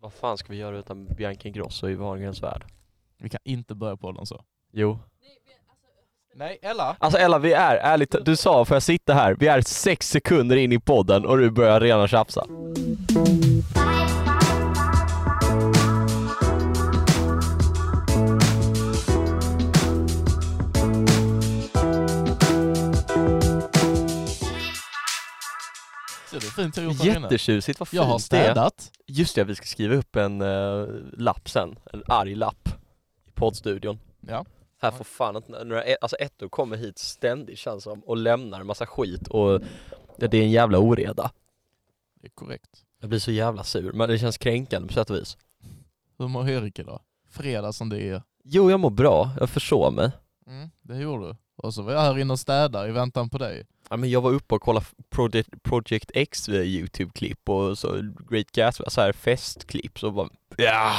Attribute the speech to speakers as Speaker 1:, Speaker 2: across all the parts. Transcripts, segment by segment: Speaker 1: Vad fan ska vi göra utan Bianca Ingrosso i Wahlgrens värld?
Speaker 2: Vi kan inte börja podden så.
Speaker 1: Jo.
Speaker 2: Nej, Ella.
Speaker 1: Alltså Ella, vi är, ärligt, du sa får jag sitta här? Vi är sex sekunder in i podden och du börjar redan tjafsa.
Speaker 2: Ser du fint jag gjort här inne?
Speaker 1: Jättetjusigt, vad fint
Speaker 2: Jag har
Speaker 1: det är.
Speaker 2: städat.
Speaker 1: Just det, vi ska skriva upp en eh, lapp sen. En arg lapp. I poddstudion.
Speaker 2: Ja.
Speaker 1: Här får fan inte, några, alltså ettor kommer hit ständigt känns som och lämnar en massa skit och det är en jävla oreda.
Speaker 2: Det är korrekt.
Speaker 1: Jag blir så jävla sur, men det känns kränkande på sätt och vis.
Speaker 2: Hur mår Erik idag? Fredag som det är.
Speaker 1: Jo, jag mår bra. Jag försov mig.
Speaker 2: Det gjorde du. Och så var jag här inne och städade i väntan på dig.
Speaker 1: Ja, men jag var uppe och kollade Project, Project X eh, YouTube-klipp och så Great Gatsby, så här festklipp, så bara, ja,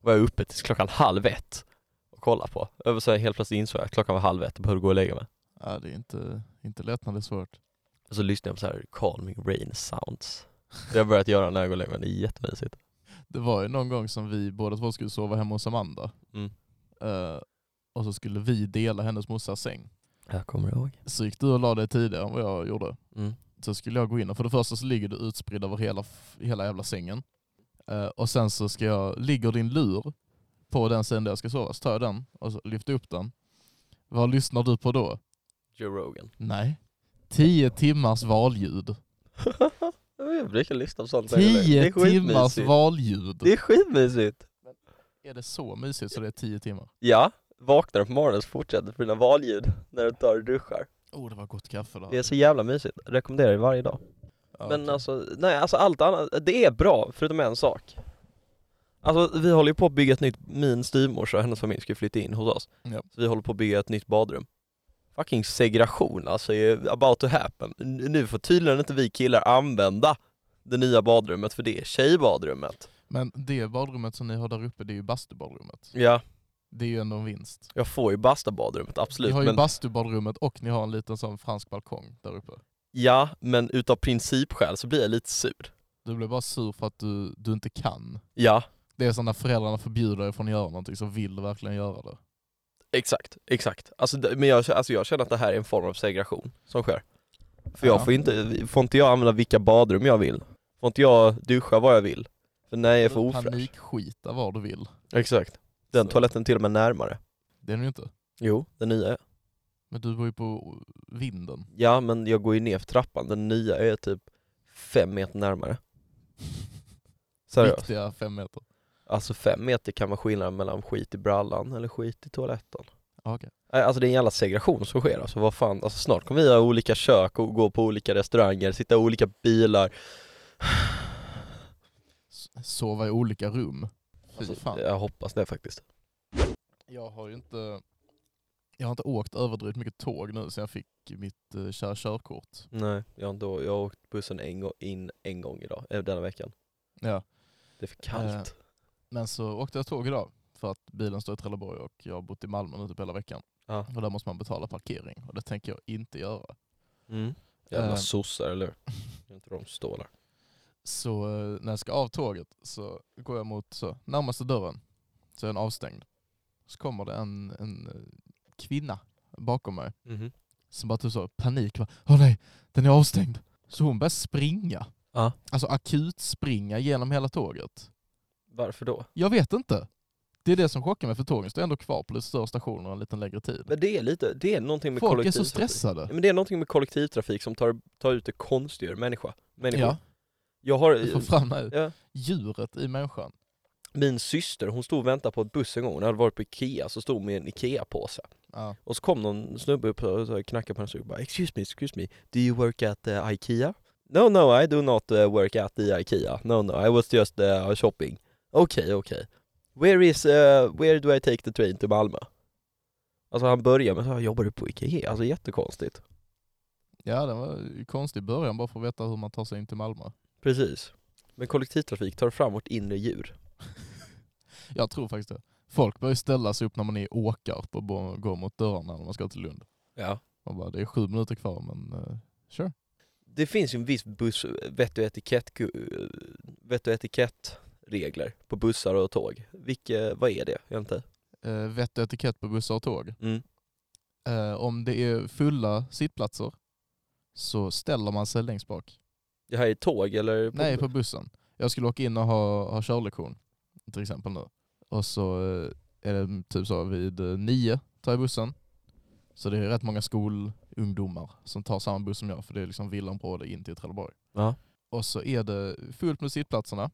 Speaker 1: var jag uppe tills klockan halv ett och kollade på. Över så här, helt plötsligt insåg jag att klockan var halv ett och behövde gå och lägga mig.
Speaker 2: Ja, det är inte, inte lätt när det är svårt.
Speaker 1: Och så lyssnade jag på så här Calming Rain Sounds. Det har jag börjat göra när jag går och lägger mig, det är jättemysigt.
Speaker 2: Det var ju någon gång som vi båda två skulle sova hemma hos Amanda.
Speaker 1: Mm.
Speaker 2: Eh, och så skulle vi dela hennes morsas säng.
Speaker 1: Jag kommer ihåg.
Speaker 2: Så gick du och la dig tidigare än vad jag gjorde.
Speaker 1: Mm.
Speaker 2: så skulle jag gå in och för det första så ligger du utspridd över hela, hela jävla sängen. Eh, och sen så ska jag, ligger din lur på den sidan där jag ska sova, så tar jag den och så lyfter upp den. Vad lyssnar du på då?
Speaker 1: Joe Rogan.
Speaker 2: Nej. Tio timmars valljud.
Speaker 1: jag brukar lyssna på sånt. när jag går och lägger mig. Det är
Speaker 2: Tio timmars
Speaker 1: skitmysigt.
Speaker 2: valljud.
Speaker 1: Det är skitmysigt.
Speaker 2: Är det så mysigt så det är tio timmar?
Speaker 1: Ja, vaknar på morgonen så fortsätter dina valljud när du tar och duschar.
Speaker 2: Oh, det var gott kaffe där.
Speaker 1: Det är så jävla mysigt, rekommenderar det varje dag.
Speaker 2: Ja,
Speaker 1: Men
Speaker 2: okej.
Speaker 1: alltså, nej alltså allt annat, det är bra förutom en sak. Alltså vi håller ju på att bygga ett nytt, min styvmorsa och hennes familj ska ju flytta in hos oss.
Speaker 2: Ja.
Speaker 1: Så vi håller på att bygga ett nytt badrum. Fucking segregation alltså är about to happen. N- Nu får tydligen inte vi killar använda det nya badrummet för det är tjejbadrummet.
Speaker 2: Men det badrummet som ni har där uppe, det är ju bastubadrummet.
Speaker 1: Ja,
Speaker 2: Det är ju ändå en vinst.
Speaker 1: jag får ju bastabadrummet
Speaker 2: Ni
Speaker 1: absolut.
Speaker 2: har ju
Speaker 1: Men,
Speaker 2: bastubadrummet och ni har en liten sån fransk balkong där uppe.
Speaker 1: ja, men utav principskäl så blir jag lite sur.
Speaker 2: Du blir bara sur för att du, du inte kan.
Speaker 1: Ja,
Speaker 2: Det är som när föräldrarna förbjuder dig från att göra någonting så vill du verkligen göra det.
Speaker 1: Exakt, exakt. Alltså, det- men jag, alltså jag känner att det här är en form av segregation som sker. För jag
Speaker 2: Ja.
Speaker 1: får inte, får inte jag använda vilka badrum jag vill? Får inte jag duscha vad jag vill? För nej, jag är för
Speaker 2: Du
Speaker 1: ofräsch.
Speaker 2: Panikskita var du vill.
Speaker 1: Exakt. Den
Speaker 2: Så.
Speaker 1: toaletten är till och med närmare.
Speaker 2: Det är du ju inte.
Speaker 1: Jo, den nya. är-
Speaker 2: Men du bor ju på vinden.
Speaker 1: Ja, men jag går ju ner för trappan. Den nya är typ fem meter närmare. Seriöst.
Speaker 2: Viktiga fem meter.
Speaker 1: Alltså fem meter kan vara skillnaden mellan skit i brallan eller skit i toaletten.
Speaker 2: Ja, okej.
Speaker 1: Nej, Alltså det är en jävla segregation som sker alltså, vad fan, alltså snart kommer vi ha olika kök och gå på olika restauranger, sitta i olika bilar
Speaker 2: S- Sova i olika rum. Fy
Speaker 1: alltså,
Speaker 2: fan.
Speaker 1: Jag hoppas det faktiskt
Speaker 2: Jag har ju inte, jag har inte åkt överdrivet mycket tåg nu sen jag fick mitt eh, kära körkort.
Speaker 1: Nej, jag har, inte, å- jag har åkt bussen en gång, in en gång idag, eh, denna veckan
Speaker 2: Ja.
Speaker 1: Det är för
Speaker 2: Eh.
Speaker 1: kallt
Speaker 2: Men så åkte jag tåg idag för att bilen står i Trelleborg och jag har bott i Malmö nu typ hela veckan.
Speaker 1: Ja.
Speaker 2: Och där måste man betala parkering och det tänker jag inte göra.
Speaker 1: mm. Jävla
Speaker 2: Eh.
Speaker 1: sossar eller hur? Det är inte de som står där
Speaker 2: Så eh, när jag ska av tåget så går jag mot så, närmaste dörren, så är den avstängd. Så kommer det en, en eh, kvinna bakom mig
Speaker 1: Mhm.
Speaker 2: som bara typ så panik. bara, Åh nej, den är avstängd. Så hon börjar springa.
Speaker 1: Ja.
Speaker 2: Alltså akut springa genom hela tåget.
Speaker 1: Varför då?
Speaker 2: Jag vet inte. Det är det som chockar mig för tågen står ändå kvar på lite större stationer en liten längre tid.
Speaker 1: Men det är lite, det är någonting med
Speaker 2: Folk är så
Speaker 1: kollektivtrafik
Speaker 2: stressade.
Speaker 1: Ja, Men det är någonting med kollektivtrafik som tar, tar ut det konstiga ur människa, människor
Speaker 2: Ja,
Speaker 1: Jag har, eh,
Speaker 2: du får fram det.
Speaker 1: ja.
Speaker 2: djuret i människan.
Speaker 1: min syster, hon stod och väntade på ett buss en gång, när jag hade varit på Ikea, så stod hon med en Ikea-påse.
Speaker 2: Ja.
Speaker 1: Och så kom någon snubbe upp och så knackade på hennes rygg och bara ”Excuse me, excuse me, do you work at eh, Ikea?” ”No, no, I do not eh, work at the Ikea. No, no, I was just eh, shopping.” Okej, okej. ”Where is, eh, where do I take the train to Malmö?” Alltså han börjar med så här, ”Jobbar du på Ikea?” Alltså jättekonstigt.
Speaker 2: ja, den var ju konstig i början bara för att veta hur man tar sig in till Malmö.
Speaker 1: Precis. Men kollektivtrafik tar fram vårt inre djur.
Speaker 2: Jag tror faktiskt det. Folk börjar ställa sig upp när man är i Åkarp och bo- går mot dörrarna när man ska till Lund.
Speaker 1: Ja.
Speaker 2: Man bara, det är sju minuter kvar men eh, sure.
Speaker 1: Det finns ju en viss buss, vett och etikett, vett och etikett regler på bussar och tåg. Vilke, vad är det egentligen?
Speaker 2: Eh, vett och etikett på bussar och tåg.
Speaker 1: Mm.
Speaker 2: Eh, om det är fulla sittplatser så ställer man sig längst bak.
Speaker 1: Det här är tåg eller?
Speaker 2: Nej, på bussen. Jag skulle åka in och ha, ha körlektion till exempel nu. Och så eh, är det typ så vid eh, nio tar jag bussen. Så det är rätt många skolungdomar som tar samma buss som jag för det är liksom villaområde in till Trelleborg.
Speaker 1: Ja.
Speaker 2: Och så är det fullt med sittplatserna.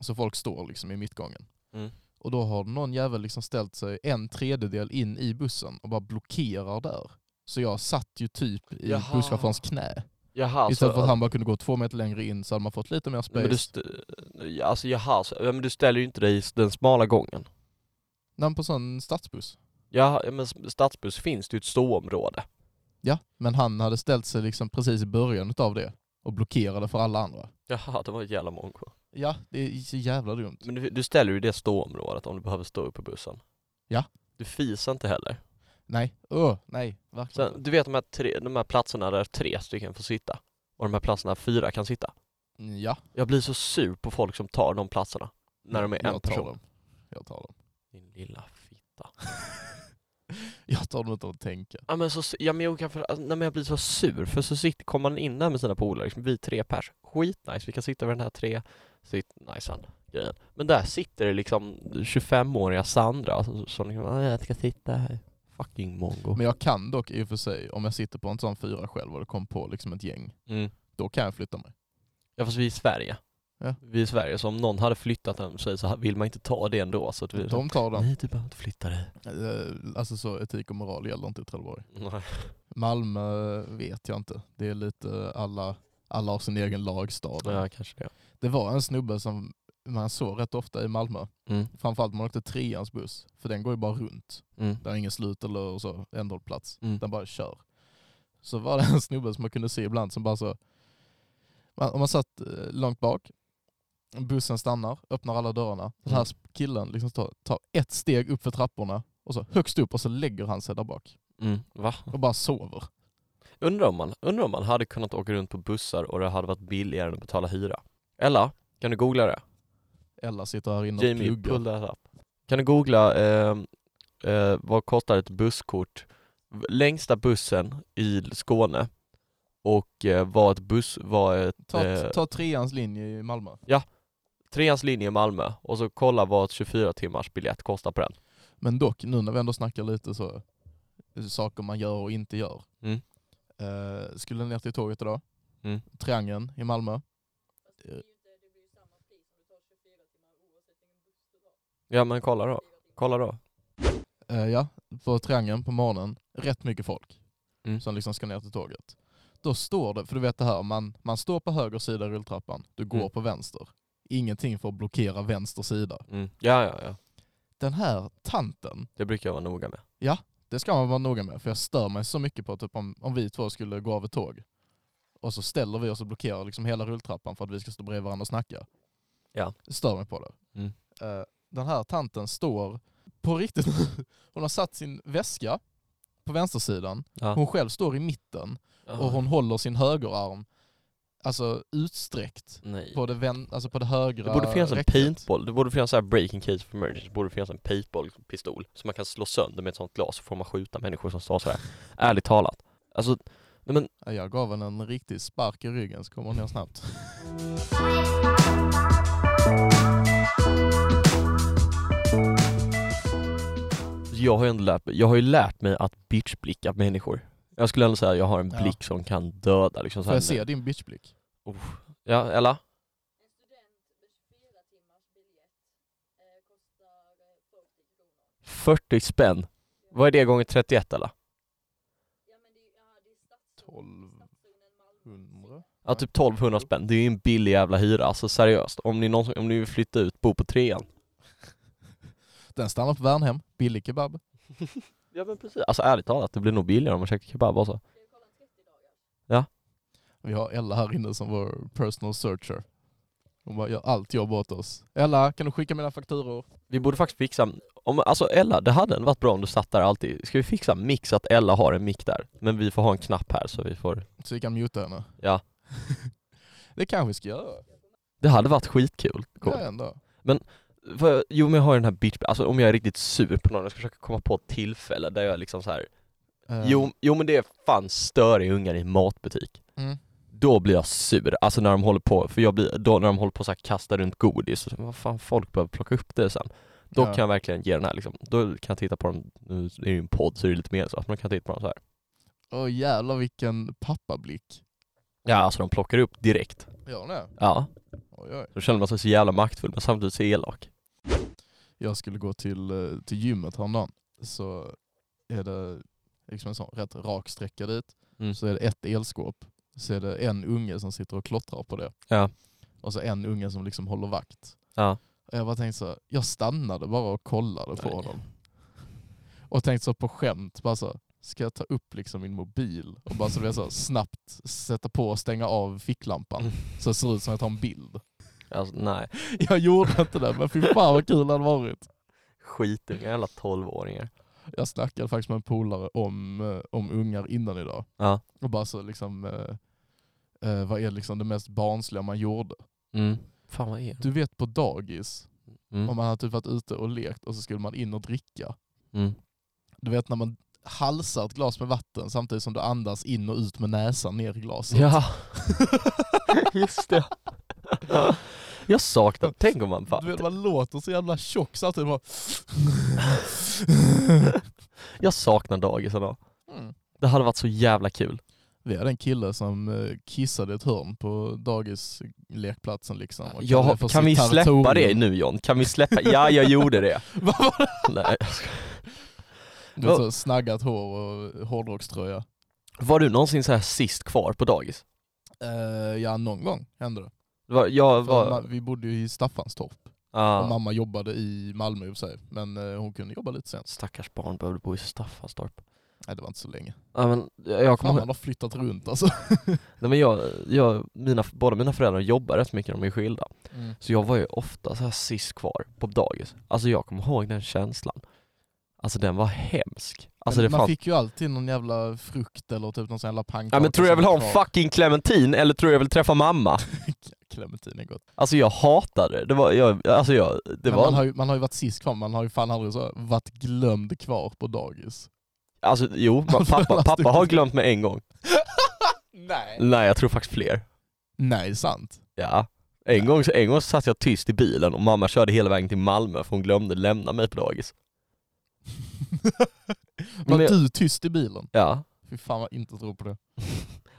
Speaker 2: Så folk står liksom i mittgången.
Speaker 1: Mm.
Speaker 2: Och då har någon jävel liksom ställt sig en tredjedel in i bussen och bara blockerar där. Så jag satt ju typ i
Speaker 1: Jaha.
Speaker 2: busschaufförens knä.
Speaker 1: Jaha, alltså,
Speaker 2: Istället för att han bara kunde gå två meter längre in så hade man fått lite mer space.
Speaker 1: men du, st- alltså jaha, så, ja, men du ställer ju inte dig i den smala gången.
Speaker 2: Nej, men på sån stadsbuss.
Speaker 1: Jaha, ja, men s- stadsbuss finns, det är ju ett ståområde.
Speaker 2: Ja, men han hade ställt sig liksom precis i början av det och blockerade för alla andra.
Speaker 1: Jaha, det var ett jävla monko.
Speaker 2: Ja, det är så jävla dumt.
Speaker 1: Men du, du ställer ju i det ståområdet om du behöver stå upp på bussen.
Speaker 2: Ja.
Speaker 1: Du fisar inte heller.
Speaker 2: Nej, öh, nej, verkligen
Speaker 1: Sen, du vet de här, tre, de här platserna där tre stycken får sitta och de här platserna fyra kan sitta.
Speaker 2: inte. Mm, Ja,
Speaker 1: Jag blir så sur på folk som tar de platserna när de är en
Speaker 2: jag tar
Speaker 1: person.
Speaker 2: dem. Jag tar dem.
Speaker 1: Din lilla fitta.
Speaker 2: Jag tar dem utan att tänka.
Speaker 1: Ja men, så, su- ja, men, jag, kan, för- alltså, nej, men jag blir så sur för så sitter, kommer man in där med sina polare, liksom, vi tre pers, skitnice, vi kan sitta över den här tre, sitt nice han, grejen. Men där sitter det liksom 25-åriga Sandra som, som liksom, "Ah, jag ska sitta här. Fucking mongo.
Speaker 2: Men jag kan dock i och för sig, om jag sitter på en sån fyra själv och det kom på liksom ett gäng,
Speaker 1: Mm.
Speaker 2: då kan jag flytta mig.
Speaker 1: Ja fast vi är i Sverige.
Speaker 2: Ja.
Speaker 1: Vi är i Sverige, så om någon hade flyttat den sig så vill man inte ta det ändå. Så att vi,
Speaker 2: De tar den.
Speaker 1: Nej du behöver inte flytta dig.
Speaker 2: Eh, Alltså så etik och moral gäller inte i Trelleborg.
Speaker 1: Nej.
Speaker 2: Malmö vet jag inte. Det är lite alla, alla har sin egen lagstad.
Speaker 1: Ja kanske det.
Speaker 2: Det var en snubbe som man såg rätt ofta i Malmö.
Speaker 1: Mm.
Speaker 2: Framförallt när man åkte treans buss. För den går ju bara runt.
Speaker 1: Mm.
Speaker 2: Där är ingen slut eller så, ändhållplats.
Speaker 1: Mm.
Speaker 2: Den bara kör. Så var det en snubbe som man kunde se ibland som bara så... Man, om man satt eh, långt bak, bussen stannar, öppnar alla dörrarna. Den
Speaker 1: Mm.
Speaker 2: här killen liksom tar, tar ett steg upp för trapporna och så högst upp och så lägger han sig där bak.
Speaker 1: Mm. Va?
Speaker 2: Och bara sover.
Speaker 1: Undrar om, man, undrar om man hade kunnat åka runt på bussar och det hade varit billigare än att betala hyra. Ella, kan du googla det?
Speaker 2: Eller sitter här inne och
Speaker 1: Jamie,
Speaker 2: pluggar.
Speaker 1: pull that up. Kan du googla eh, eh, vad kostar ett busskort, v- längsta bussen i Skåne och eh, vad ett buss, vad ett
Speaker 2: Ta,
Speaker 1: eh,
Speaker 2: ta treans linje i Malmö.
Speaker 1: treans linje i Malmö och så kolla vad ett 24 timmars biljett kostar på den.
Speaker 2: Men dock, nu när vi ändå snackar lite så, saker man gör och inte gör.
Speaker 1: Mm.
Speaker 2: Eh, skulle ner till tåget idag,
Speaker 1: Mm.
Speaker 2: Triangeln i Malmö.
Speaker 1: Ja men kolla då, kolla då.
Speaker 2: Eh, ja, på Triangeln på morgonen, rätt mycket folk
Speaker 1: Mm.
Speaker 2: som liksom ska ner till tåget. Då står det, för du vet det här, man, man står på höger sida i rulltrappan, du går
Speaker 1: Mm.
Speaker 2: på vänster. Ingenting för att blockera vänster sida.
Speaker 1: Mm. Ja ja ja,
Speaker 2: Den här tanten
Speaker 1: det brukar jag vara noga med.
Speaker 2: Det ska man vara noga med, för jag stör mig så mycket på typ om, om vi två skulle gå av ett tåg och så ställer vi oss och blockerar liksom hela rulltrappan för att vi ska stå bredvid varandra och snacka.
Speaker 1: Ja.
Speaker 2: Det Stör mig på det.
Speaker 1: Mm.
Speaker 2: Eh, den här tanten står på riktigt, hon har satt sin väska på vänstersidan,
Speaker 1: Ja.
Speaker 2: hon själv står i mitten och hon håller sin högerarm alltså utsträckt
Speaker 1: Nej.
Speaker 2: på det, vän, alltså på det högra
Speaker 1: Det borde finnas en
Speaker 2: räcket.
Speaker 1: paintball, det borde finnas så här breaking case for emergency, det borde finnas en paintball-pistol som man kan slå sönder med ett sånt glas så får man skjuta människor som står så här. Ärligt talat. Alltså, nej men,
Speaker 2: Ja, Jag gav henne en riktig spark i ryggen så kom hon ner snabbt.
Speaker 1: jag har ju ändå lärt mig, jag har ju lärt mig att bitchblicka människor. Jag skulle ändå säga att jag har en
Speaker 2: Ja.
Speaker 1: blick som kan döda liksom så
Speaker 2: Får
Speaker 1: här.
Speaker 2: jag se din bitchblick?
Speaker 1: Ja, eller? En student med 24 timmars biljett kostar 40 kronor. 40 spänn? Vad är det gånger 31 eller?
Speaker 2: 1200.
Speaker 1: Ja typ 1200 spänn, det är ju en billig jävla hyra, alltså seriöst. Om ni, någonsin, om ni vill flytta ut, bo på trean.
Speaker 2: Den stannar på Värnhem, billig kebab.
Speaker 1: Ja men precis. Alltså ärligt talat, det blir nog billigare om man käkar kebab alltså.
Speaker 2: Vi har Ella här inne som vår personal searcher. Hon bara gör allt jobb åt oss. Ella, kan du skicka mina fakturor?
Speaker 1: Vi borde faktiskt fixa, om, alltså Ella, det hade varit bra om du satt där alltid. Ska vi fixa mix, att Ella har en mick där? Men vi får ha en knapp här så vi får,
Speaker 2: Så vi kan muta henne.
Speaker 1: Ja.
Speaker 2: det kanske vi ska göra.
Speaker 1: Det hade varit skitkul. Cool.
Speaker 2: Ja, ändå.
Speaker 1: För, jo men jag har den här bitch, alltså om jag är riktigt sur på någon, jag ska försöka komma på ett tillfälle där jag liksom så här.
Speaker 2: Eh,
Speaker 1: Jo, jo men det är fan störiga ungar i en matbutik.
Speaker 2: Mm.
Speaker 1: Då blir jag sur, alltså när de håller på, för jag blir, då när de håller på så här kasta runt godis, och så, vad fan folk behöver plocka upp det sen. Då
Speaker 2: ja.
Speaker 1: kan jag verkligen ge den här liksom, då kan jag titta på dem, nu är det ju en podd så det är lite mer så, att man kan titta på dem så här.
Speaker 2: Åh jävlar vilken pappablick.
Speaker 1: Ja alltså de plockar upp direkt.
Speaker 2: Gör hon det?
Speaker 1: Ja.
Speaker 2: Oj, oj.
Speaker 1: Då känner man sig så jävla maktfull men samtidigt så elak.
Speaker 2: jag skulle gå till, eh, till gymmet häromdagen så är det liksom en sån rätt rak sträcka dit.
Speaker 1: Mm.
Speaker 2: Så är det ett elskåp. Så är det en unge som sitter och klottrar på det.
Speaker 1: Ja.
Speaker 2: Och så en unge som liksom håller vakt.
Speaker 1: Ja.
Speaker 2: Och jag bara tänkte så här, jag stannade bara och kollade på
Speaker 1: Nej.
Speaker 2: honom. Och tänkte så på skämt, bara så här, ska jag ta upp liksom min mobil och bara så, du vet, så här, snabbt sätta på och stänga av
Speaker 1: Mm.
Speaker 2: ficklampan så det ser ut som att jag tar en bild.
Speaker 1: Alltså nej,
Speaker 2: Jag gjorde inte det men fy fan vad kul det hade varit.
Speaker 1: skitungar, jävla tolvåringar.
Speaker 2: Jag snackade faktiskt med en polare om, eh, om ungar innan idag.
Speaker 1: Ja.
Speaker 2: Och bara så liksom, eh, eh, vad är liksom det mest barnsliga man gjorde?
Speaker 1: Mm. Fan vad är det?
Speaker 2: Du vet på dagis,
Speaker 1: Mm.
Speaker 2: om man hade typ varit ute och lekt och så skulle man in och dricka.
Speaker 1: Mm.
Speaker 2: Du vet när man halsar ett glas med vatten samtidigt som du andas in och ut med näsan ner i glaset.
Speaker 1: Ja, just det. Jag saknar, tänk om man
Speaker 2: Du vet,
Speaker 1: fattar.
Speaker 2: man låter så jävla tjock samtidigt bara...
Speaker 1: Jag saknar dagis idag.
Speaker 2: Mm.
Speaker 1: Det hade varit så jävla kul.
Speaker 2: Vi hade en kille som eh, kissade i ett hörn på dagislekplatsen liksom. och
Speaker 1: Jag,
Speaker 2: kallade det
Speaker 1: har-
Speaker 2: för
Speaker 1: kan vi
Speaker 2: sitt
Speaker 1: släppa det
Speaker 2: territorium.
Speaker 1: nu John? Kan vi släppa? Ja, jag gjorde det.
Speaker 2: Vad var det?
Speaker 1: Nej. jag skojar.
Speaker 2: Du vet, så snaggat hår och hårdrockströja.
Speaker 1: Var du någonsin så här sist kvar på dagis?
Speaker 2: Eh, ja, någon gång hände det.
Speaker 1: Det var- Jag
Speaker 2: För
Speaker 1: var...
Speaker 2: ma- Vi bodde ju i Staffanstorp och
Speaker 1: Ah,
Speaker 2: mamma jobbade i Malmö i och för sig. Men eh, hon kunde jobba lite sent.
Speaker 1: stackars barn behövde bo i Staffanstorp.
Speaker 2: Nej, det var inte så länge.
Speaker 1: Ja, men jag kommer
Speaker 2: Fan,
Speaker 1: ihåg-
Speaker 2: man har flyttat runt alltså.
Speaker 1: Nej men jag, jag mina, båda mina föräldrar jobbar rätt mycket, de är skilda. Så jag var ju ofta så här sist kvar på dagis. Alltså jag kommer ihåg den känslan. Alltså den var hemsk. Alltså
Speaker 2: Men
Speaker 1: det
Speaker 2: man
Speaker 1: fanns...
Speaker 2: fick ju alltid någon jävla frukt eller typ någon sån jävla pannkaka.
Speaker 1: Ja men tror jag
Speaker 2: som
Speaker 1: vill ha
Speaker 2: var
Speaker 1: en
Speaker 2: kvar.
Speaker 1: fucking clementin eller tror jag vill träffa mamma?
Speaker 2: Clementin är gott.
Speaker 1: Alltså jag hatade det. Det var, jag, alltså jag, det
Speaker 2: Men
Speaker 1: var...
Speaker 2: man, har ju, man har ju varit sist kvar, man har ju fan aldrig så varit glömd kvar på dagis.
Speaker 1: Alltså jo, ma- pappa, pappa har glömt mig en gång.
Speaker 2: Nej.
Speaker 1: Nej jag tror faktiskt fler.
Speaker 2: Nej, sant.
Speaker 1: Ja. En gång, en gång satt jag tyst i bilen och mamma körde hela vägen till Malmö för hon glömde lämna mig på dagis. Men-
Speaker 2: Var du tyst i bilen?
Speaker 1: Ja.
Speaker 2: Fy fan vad jag inte tror på det.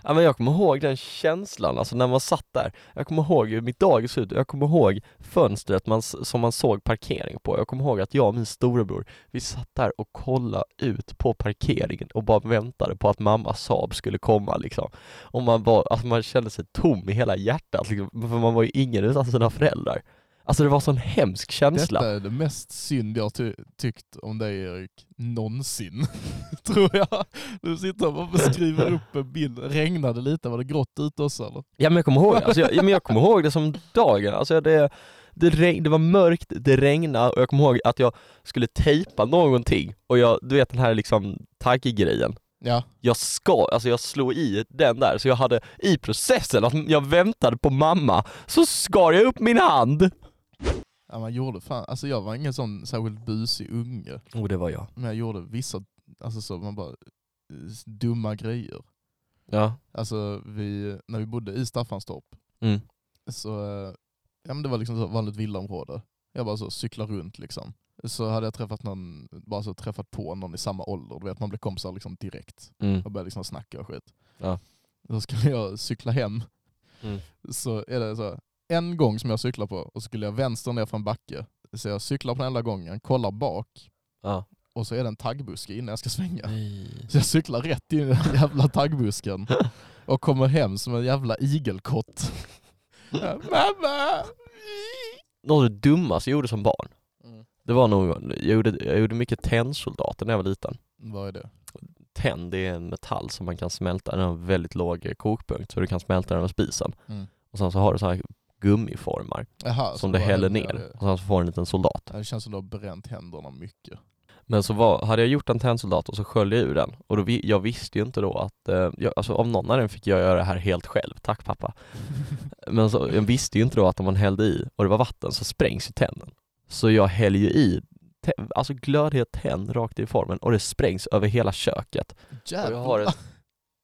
Speaker 1: Ja, men jag kommer ihåg den känslan, alltså när man satt där. Jag kommer ihåg hur mitt dagis såg ut, jag kommer ihåg fönstret man, s- som man såg parkering på. Jag kommer ihåg att jag och min storebror, vi satt där och kollade ut på parkeringen och bara väntade på att mamma Saab skulle komma liksom. Och man, var, alltså, man kände sig tom i hela hjärtat, liksom, för man var ju ingen utan sina föräldrar. Alltså det var sån hemsk känsla.
Speaker 2: Detta är det mest synd jag ty tyckt om dig Erik, någonsin. Tror jag. Du sitter och bara beskriver upp en bild. Regnade lite, var det grått ute också eller?
Speaker 1: Ja men jag kommer ihåg, alltså, jag, ja, men jag kommer ihåg det som dagen, alltså det, det, regn, det var mörkt, det regnade och jag kommer ihåg att jag skulle tejpa någonting och jag, du vet den här liksom taggrejen
Speaker 2: Ja.
Speaker 1: jag ska, alltså jag slog i den där, så jag hade i processen att jag väntade på mamma, så skar jag upp min hand!
Speaker 2: ja man gjorde fan. Alltså jag var ingen sån särskilt busig unge.
Speaker 1: Och Oh, det var jag.
Speaker 2: Men jag gjorde vissa, alltså så man bara, eh, dumma grejer.
Speaker 1: Ja.
Speaker 2: Alltså vi, när vi bodde i Staffanstorp
Speaker 1: Mm.
Speaker 2: så, eh, ja men det var liksom så vanligt villaområde. Jag bara så cyklar runt liksom. Så hade jag träffat någon, bara så träffat på någon i samma ålder, du vet man blir kompisar liksom direkt.
Speaker 1: Mm.
Speaker 2: och började liksom snacka och skit.
Speaker 1: Ja.
Speaker 2: Då skulle jag cykla hem.
Speaker 1: Mm.
Speaker 2: Så är det så här, en gång som jag cyklar på och så skulle jag vänster ner från backe. Så jag cyklar på den enda gången, kollar bak
Speaker 1: Ja.
Speaker 2: och så är det en taggbuske innan jag ska svänga.
Speaker 1: Nej.
Speaker 2: Så jag cyklar rätt in i den jävla taggbusken och kommer hem som en jävla igelkott. Ja, Mamma!
Speaker 1: Något av det dummaste jag gjorde som barn, det var nog, jag gjorde, jag gjorde mycket tennsoldater när jag var liten.
Speaker 2: Vad är det?
Speaker 1: tenn, det är en metall som man kan smälta, den har en väldigt låg eh, kokpunkt så du kan smälta den med spisen.
Speaker 2: Mm.
Speaker 1: Och sen så har du så här gummiformar
Speaker 2: Jaha, så
Speaker 1: som du
Speaker 2: bara
Speaker 1: häller
Speaker 2: häller jag
Speaker 1: ner
Speaker 2: det.
Speaker 1: och sen så får du en liten soldat.
Speaker 2: Ja, Det känns som du har bränt händerna mycket.
Speaker 1: Men så var, hade jag gjort en tändsoldat och så sköljde jag ur den och då, vi- jag visste ju inte då att, eh, jag, alltså av någon anledning fick jag göra det här helt själv, tack pappa. Men så, jag visste ju inte då att om man hällde i och det var vatten så sprängs ju tänden. Så jag häller ju i te- alltså glödhet tenn rakt i formen och det sprängs över hela köket. Och jag har ett,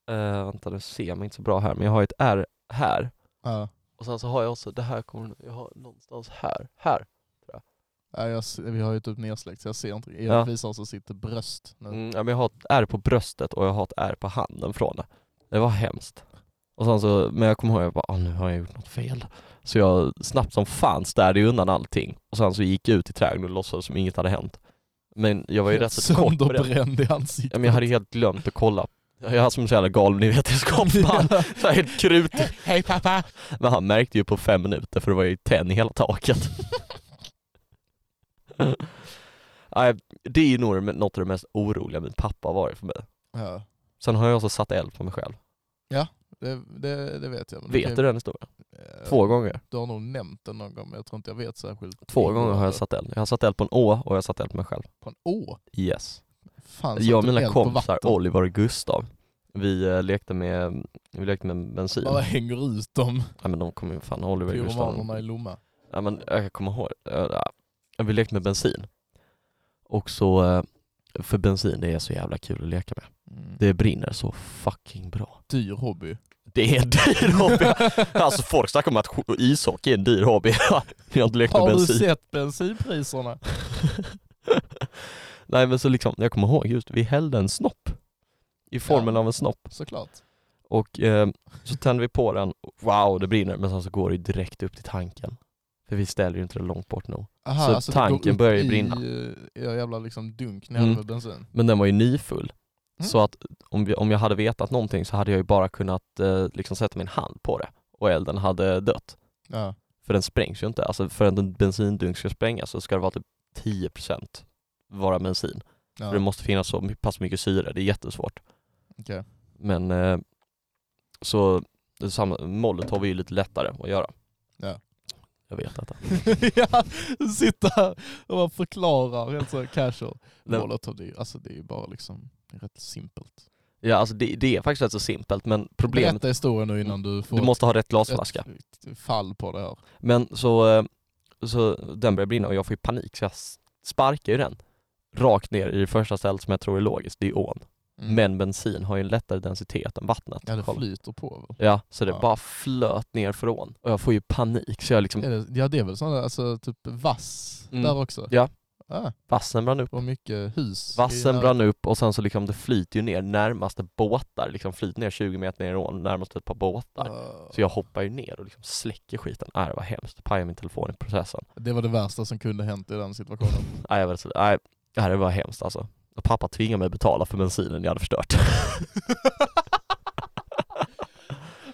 Speaker 1: eh, vänta nu ser man inte så bra här, men jag har ett R här
Speaker 2: Ja.
Speaker 1: och sen så har jag också, det här kommer, jag har någonstans här, här.
Speaker 2: Ja, jag, se- vi har ju typ nedsläckt så jag ser inte. Erik
Speaker 1: Ja.
Speaker 2: visar oss och sitter bröst nu.
Speaker 1: Mm, ja, men jag har ett ärr på bröstet och jag har ett ärr på handen från det. Det var hemskt. Och sen så, men jag kommer ihåg, jag bara, "Ah, nu har jag gjort något fel. Så jag snabbt som fan städade ju undan allting och sen så gick jag ut i trädgården och låtsades som inget hade hänt. Men jag var ju rätt så kort på det.
Speaker 2: Sönderbränd i
Speaker 1: Ja,
Speaker 2: ansiktet.
Speaker 1: men jag hade helt glömt att kolla. Jag är som en så jävla galen, ni vet, i skottband. Så här helt krut.
Speaker 2: Hej pappa!
Speaker 1: Men han märkte ju på fem minuter för det var ju tenn i hela taket. Nej, det är ju nog det- något av det mest oroliga min pappa har varit för mig.
Speaker 2: Ja,
Speaker 1: Sen har jag också satt eld på mig själv.
Speaker 2: det, det, det vet jag. men
Speaker 1: Vet du den historien?
Speaker 2: kan-
Speaker 1: Två gånger.
Speaker 2: Du har nog nämnt den någon gång men jag tror inte jag vet särskilt.
Speaker 1: Två gånger har
Speaker 2: ingående.
Speaker 1: jag satt eld. Jag har satt eld på en å och jag har satt eld på mig själv.
Speaker 2: På en å?
Speaker 1: Yes.
Speaker 2: Fan,
Speaker 1: Jag och
Speaker 2: satte eld
Speaker 1: mina
Speaker 2: på
Speaker 1: kompisar
Speaker 2: vatten.
Speaker 1: Oliver och Gustav, vi eh, lekte med, vi lekte med bensin.
Speaker 2: Bara hänger ut dem,
Speaker 1: Nej men de kommer ju fan, Oliver och Gustav.
Speaker 2: pyromanerna i Lomma.
Speaker 1: Ja, men jag kommer ihåg, eh, ja, vi lekte med bensin. Och så, eh, för bensin det är så jävla kul att leka med.
Speaker 2: Mm.
Speaker 1: Det brinner så fucking bra.
Speaker 2: Dyr hobby.
Speaker 1: Det är en dyr hobby. alltså folk snackar om att sk- ishockey är en dyr hobby. jag har inte lekt med
Speaker 2: Har du
Speaker 1: bensin.
Speaker 2: sett bensinpriserna?
Speaker 1: Nej men så liksom, jag kommer ihåg just, vi hällde en snopp. I formen
Speaker 2: Ja.
Speaker 1: av en snopp.
Speaker 2: Såklart.
Speaker 1: Och eh, så tände vi på den, wow det brinner, men sen så går det ju direkt upp till tanken. För vi ställer ju inte det långt bort nog.
Speaker 2: Aha,
Speaker 1: Så
Speaker 2: alltså, det går
Speaker 1: tanken
Speaker 2: upp
Speaker 1: börjar ju
Speaker 2: i,
Speaker 1: brinna.
Speaker 2: eh, era jävla liksom dunk ni
Speaker 1: Mm.
Speaker 2: hade med bensin.
Speaker 1: Men den var ju nyfull.
Speaker 2: Mm.
Speaker 1: Så att om, vi, om jag hade vetat någonting så hade jag ju bara kunnat eh, liksom sätta min hand på det och elden hade dött.
Speaker 2: Ja.
Speaker 1: För den sprängs ju inte. Alltså för att en bensindunk ska sprängas så ska det vara typ 10% vara bensin.
Speaker 2: Ja.
Speaker 1: För det måste finnas så my- pass mycket syre, det är jättesvårt.
Speaker 2: Okej.
Speaker 1: Men eh, så det är samma, molotov är ju lite lättare att göra.
Speaker 2: Ja.
Speaker 1: Jag vet detta.
Speaker 2: ja, sitta här och bara förklarar helt så här casual.
Speaker 1: Nej.
Speaker 2: Molotov, det, är ju- alltså det är ju bara liksom det är rätt simpelt.
Speaker 1: Ja alltså det, det är faktiskt rätt så simpelt men problemet,
Speaker 2: Berätta historien nu innan du får
Speaker 1: du måste ha rätt
Speaker 2: ett-
Speaker 1: glasflaska.
Speaker 2: ett fall på det här.
Speaker 1: Men så, eh, så den börjar brinna och jag får ju panik så jag s- sparkar ju den rakt ner i det första stället som jag tror är logiskt, det är ån.
Speaker 2: Mm.
Speaker 1: Men bensin har ju en lättare densitet än vattnet.
Speaker 2: Ja det
Speaker 1: Kolla.
Speaker 2: flyter på väl?
Speaker 1: Ja, så det
Speaker 2: Ja.
Speaker 1: bara flöt ner från och jag får ju panik så jag liksom,
Speaker 2: Är det, ja det är väl sådana, alltså typ vass
Speaker 1: Mm.
Speaker 2: där också?
Speaker 1: Ja.
Speaker 2: Ah,
Speaker 1: vassen brann upp.
Speaker 2: och mycket hus.
Speaker 1: Vassen brann upp och sen så liksom det flyter ju ner närmaste båtar, liksom flyter ner 20 meter ner i ån, närmast ett par båtar.
Speaker 2: Ah.
Speaker 1: Så jag hoppar ju ner och liksom släcker skiten. Nej det var hemskt, pajade min telefon i processen.
Speaker 2: Det var det värsta som kunde hänt i den situationen.
Speaker 1: Nej, jag vet, inte. nej det här var hemskt alltså. Och pappa tvingade mig betala för bensinen jag hade förstört.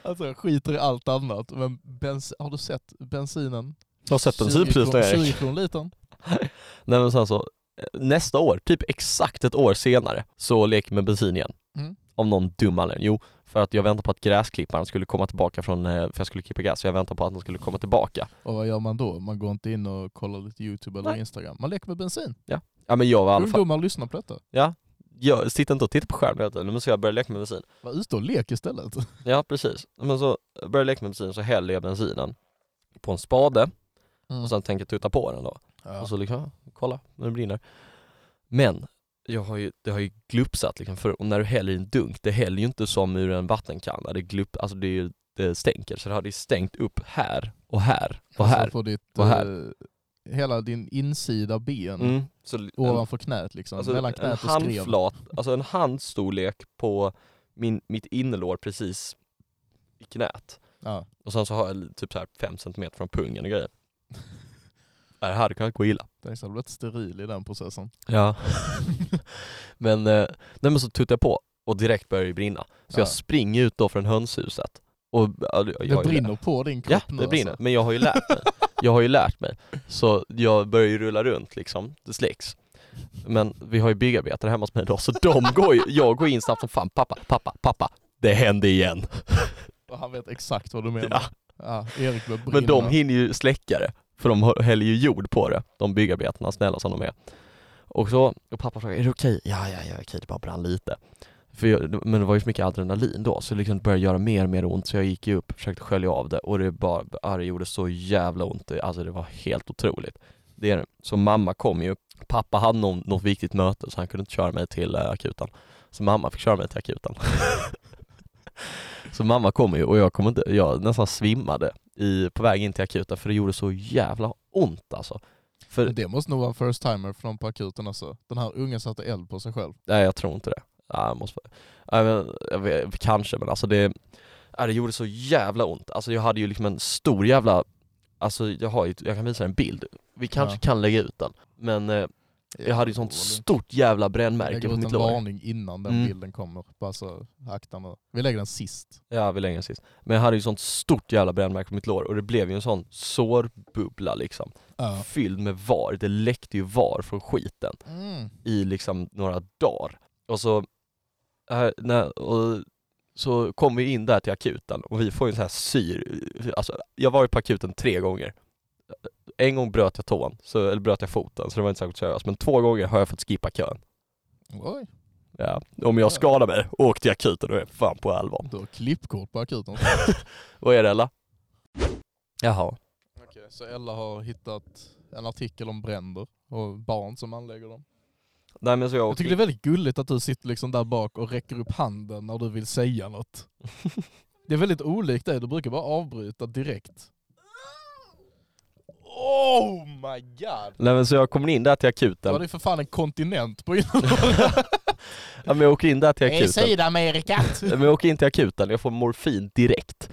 Speaker 2: alltså jag skiter i allt annat. Men bens, har du sett bensinen?
Speaker 1: Jag har sett den
Speaker 2: 20
Speaker 1: typ precis
Speaker 2: kron-
Speaker 1: när
Speaker 2: 20
Speaker 1: Erik.
Speaker 2: kronor litern.
Speaker 1: Nej men sen så, eh, nästa år, typ exakt ett år senare, så leker vi med bensin igen.
Speaker 2: Mm.
Speaker 1: Om någon dum anledning. Jo, för att jag väntade på att gräsklipparen skulle komma tillbaka från, eh, för jag skulle klippa gräs, så jag väntade på att den skulle komma tillbaka.
Speaker 2: Och vad gör man då? Man går inte in och kollar lite YouTube eller
Speaker 1: Nej.
Speaker 2: Instagram. Man leker med bensin.
Speaker 1: Ja men jag var i alla fall,
Speaker 2: Ungdomar lyssnar på detta.
Speaker 1: jag sitter inte och tittar på skärmen hela tiden, men så jag började leka med bensin.
Speaker 2: Var ute och lek istället.
Speaker 1: Ja precis. Men så började jag leka med bensin, så häller jag bensinen på en spade
Speaker 2: Mm.
Speaker 1: och sen tänker jag tuta på den då.
Speaker 2: ja.
Speaker 1: Och så liksom, ja, kolla, när det brinner. Men jag har ju, det har ju glupsat liksom, för, och när du häller i en dunk, det häller ju inte som ur en vattenkanna, det, glup, alltså det, är ju- det stänker, så det hade ju stängt upp här och här och
Speaker 2: Alltså
Speaker 1: här.
Speaker 2: På ditt,
Speaker 1: Och här.
Speaker 2: eh, hela din insida ben
Speaker 1: Mm, så en,
Speaker 2: ovanför knät liksom.
Speaker 1: alltså,
Speaker 2: mellan
Speaker 1: en
Speaker 2: knät och skrev.
Speaker 1: handflat, alltså en handstorlek på min, mitt innerlår precis i knät.
Speaker 2: Ja.
Speaker 1: Och sen så har jag typ så här 5 cm från pungen och grejer. Det här hade kunnat gå illa.
Speaker 2: Tänk hade blivit steril i den processen.
Speaker 1: Ja. men, eh, nej, men så tuttar jag på och direkt börjar det brinna. Så
Speaker 2: Ja.
Speaker 1: jag springer ut då från hönshuset. Och, ja, jag,
Speaker 2: Det brinner på din
Speaker 1: Ja,
Speaker 2: kropp nu
Speaker 1: det brinner.
Speaker 2: Alltså.
Speaker 1: Men jag har ju lärt mig. Jag har ju lärt mig. Så jag börjar ju rulla runt liksom. Det släcks. Men vi har ju byggarbetare hemma hos mig då, så de går ju, jag går in snabbt som fan. Pappa, pappa, pappa. Det hände igen.
Speaker 2: Och han vet exakt vad du menar.
Speaker 1: Ja.
Speaker 2: Ja. Erik börjar brinna.
Speaker 1: Men de hinner ju släcka det, för de häller ju jord på det, de byggarbetarna, snälla som de är. Och så, och pappa frågade är det okej? Ja, ja, ja, okej, det bara brann lite. För jag, men det var ju så mycket adrenalin då, så det liksom började göra mer och mer ont, så jag gick ju upp, försökte skölja av det och det bara, ah, det gjorde så jävla ont, Det- alltså det var helt otroligt. Det är det. Så mamma kom ju, pappa hade någon, något viktigt möte så han kunde inte köra mig till eh, akuten. Så mamma fick köra mig till akuten. så mamma kom ju och jag, kom inte, jag nästan svimmade i, på väg in till akuten för det gjorde så jävla ont alltså. För,
Speaker 2: Men det måste nog vara en first timer från på akuten alltså. Den här ungen satte eld på sig själv.
Speaker 1: Nej jag tror inte det. Nej, jag måste... Nej, men, jag vet, kanske men alltså det... Nej, det gjorde så jävla ont. Alltså jag hade ju liksom en stor jävla... Alltså jag har ju... Jag kan visa en bild. Vi kanske
Speaker 2: Ja.
Speaker 1: kan lägga ut den. Men eh, jag hade ju sånt stort jävla
Speaker 2: Jag
Speaker 1: brännmärke på
Speaker 2: lägger ut en
Speaker 1: mitt lår.
Speaker 2: varning innan den
Speaker 1: Mm.
Speaker 2: bilden kommer. Bara så, akta nu. Vi lägger den sist.
Speaker 1: Ja, vi lägger den sist. Men jag hade ju sånt stort jävla brännmärke på mitt lår och det blev ju en sån sårbubbla liksom.
Speaker 2: Ja.
Speaker 1: Fylld med var. Det läckte ju var från skiten.
Speaker 2: Mm.
Speaker 1: i liksom några dagar. Och så, här, när, och så kom vi in där till akuten och vi får ju en sån här syr, alltså jag var ju på akuten tre gånger. En gång bröt jag tån, så, eller bröt jag foten, så det var inte särskilt seriöst. Men två gånger har jag fått skippa kön.
Speaker 2: Oj,
Speaker 1: Ja. Om jag skadar mig, åk till akuten, då är jag fan på allvar.
Speaker 2: du har klippkort på akuten.
Speaker 1: Vad är det Ella? Jaha.
Speaker 2: Okej, så Ella har hittat en artikel om bränder och barn som anlägger dem.
Speaker 1: Nej men så jag
Speaker 2: Jag tycker det är väldigt gulligt att du sitter liksom där bak och räcker upp handen när du vill säga något. Det är väldigt olikt dig, du brukar bara avbryta direkt. Oh my god!
Speaker 1: Nej men så jag kommer in där till
Speaker 2: Det var
Speaker 1: akuten.
Speaker 2: det för fan en kontinent på innan.
Speaker 1: Ja, men jag åker in där till akuten.
Speaker 2: Sydamerika!
Speaker 1: Nej, Men jag åker in till akuten, jag får morfin direkt.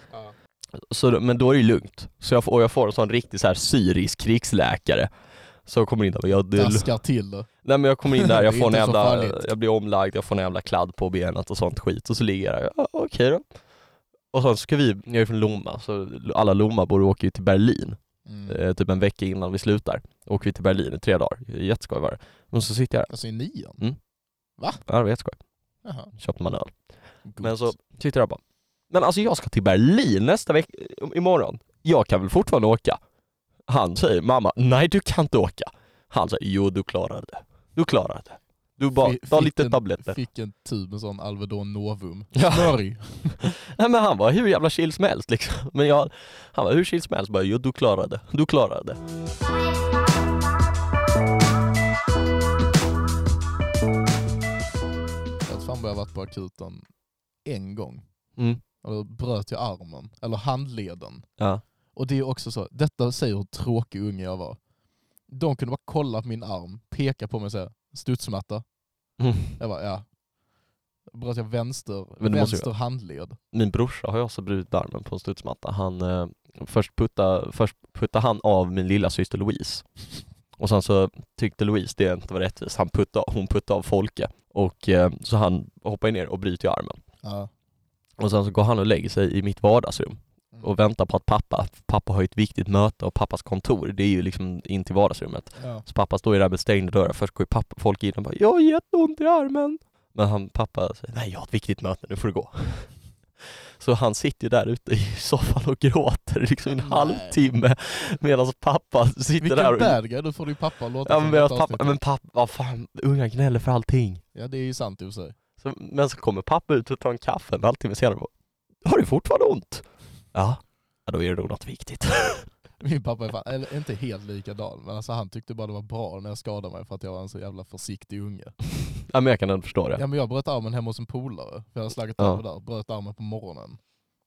Speaker 1: Så, då- men då är det ju lugnt. Så jag, får- och jag får en sån riktig så här syrisk krigsläkare. Så jag kommer in där, och jag, det, är lu-
Speaker 2: Daskar till det.
Speaker 1: nej men jag kommer in där,
Speaker 2: Alltså. Det
Speaker 1: jag får en
Speaker 2: är inte så
Speaker 1: jävla,
Speaker 2: farligt.
Speaker 1: jag blir omlagd, jag får en jävla kladd på benet och sånt skit och så ligger jag där, ja, okej då. Och sen ska vi, jag är från Lomma, så alla Lommabor åker ju till Berlin
Speaker 2: Mm.
Speaker 1: eh, typ en vecka innan vi slutar. Åker vi till Berlin i tre dagar, jätteskoj var det. Men så sitter jag
Speaker 2: Alltså i nian?
Speaker 1: där, ja det var jätteskoj,
Speaker 2: Jaha.
Speaker 1: köpte man öl.
Speaker 2: gott.
Speaker 1: Men så sitter jag bara, men alltså jag ska till Berlin nästa vecka, imorgon. Jag kan väl fortfarande åka? Han säger, mamma, nej du kan inte åka. Han säger, jo du klarar det. Du klarar det. Du bara,
Speaker 2: Fi-
Speaker 1: ta
Speaker 2: fick
Speaker 1: lite
Speaker 2: en-
Speaker 1: tabletter.
Speaker 2: Fick en tub med sån Alvedon Novum.
Speaker 1: Ja.
Speaker 2: Smörj!
Speaker 1: Nej men han var hur jävla chill som helst liksom. Men jag, han var hur chill som helst, bara, jo du klarar det. Du klarar det.
Speaker 2: Jag har fan bara varit på akuten en gång.
Speaker 1: Mm.
Speaker 2: Och då bröt jag armen, eller handleden.
Speaker 1: Ja.
Speaker 2: Och det är också så, detta säger hur tråkig unge jag var. De kunde bara kolla på min arm, peka på mig och säga studsmatta.
Speaker 1: Mm.
Speaker 2: Jag bara ja. Bröt jag vänster,
Speaker 1: Men du måste ju-
Speaker 2: vänster handled.
Speaker 1: Min brorsa har ju också brutit armen på en studsmatta. Han, eh, först, putta, först puttade han av min lilla syster Louise. Och sen så tyckte Louise det inte var rättvist. Han putta, hon puttade av Folke. Och eh, så han hoppar ner och bryter ju armen.
Speaker 2: Ja.
Speaker 1: Och sen så går han och lägger sig i mitt vardagsrum
Speaker 2: Mm.
Speaker 1: och väntar på att pappa, pappa har ju ett viktigt möte och pappas kontor, det är ju liksom in till vardagsrummet.
Speaker 2: Ja.
Speaker 1: Så pappa står ju där med stängda dörrar. Först går ju pappa, folk in och bara ”Jag har jätteont i armen”. Men han, pappa säger ”Nej, jag har ett viktigt möte, nu får du gå”. Så han sitter ju där ute i soffan och gråter liksom i en
Speaker 2: Nej.
Speaker 1: halvtimme medan pappa sitter
Speaker 2: Vilken
Speaker 1: där och...
Speaker 2: bad guy, då får du ju pappa låta
Speaker 1: Ja,
Speaker 2: som
Speaker 1: men, medan
Speaker 2: ett
Speaker 1: pappa,
Speaker 2: avsnitt.
Speaker 1: men pappa, vad fan, unga gnäller för allting.
Speaker 2: Ja det är ju sant i och för sig.
Speaker 1: Så, men så kommer pappa ut och tar en kaffe en halvtimme senare och bara, ”Har du fortfarande ont?” Ja, ja då är det nog något viktigt.
Speaker 2: Min pappa är fan, eller inte helt likadan, men alltså han tyckte bara det var bra när jag skadade mig för att jag var en så jävla försiktig unge.
Speaker 1: ja, men jag kan ändå förstå det.
Speaker 2: Ja men jag bröt armen hemma hos en polare. För jag hade slagit
Speaker 1: Ja.
Speaker 2: över där, bröt armen på morgonen.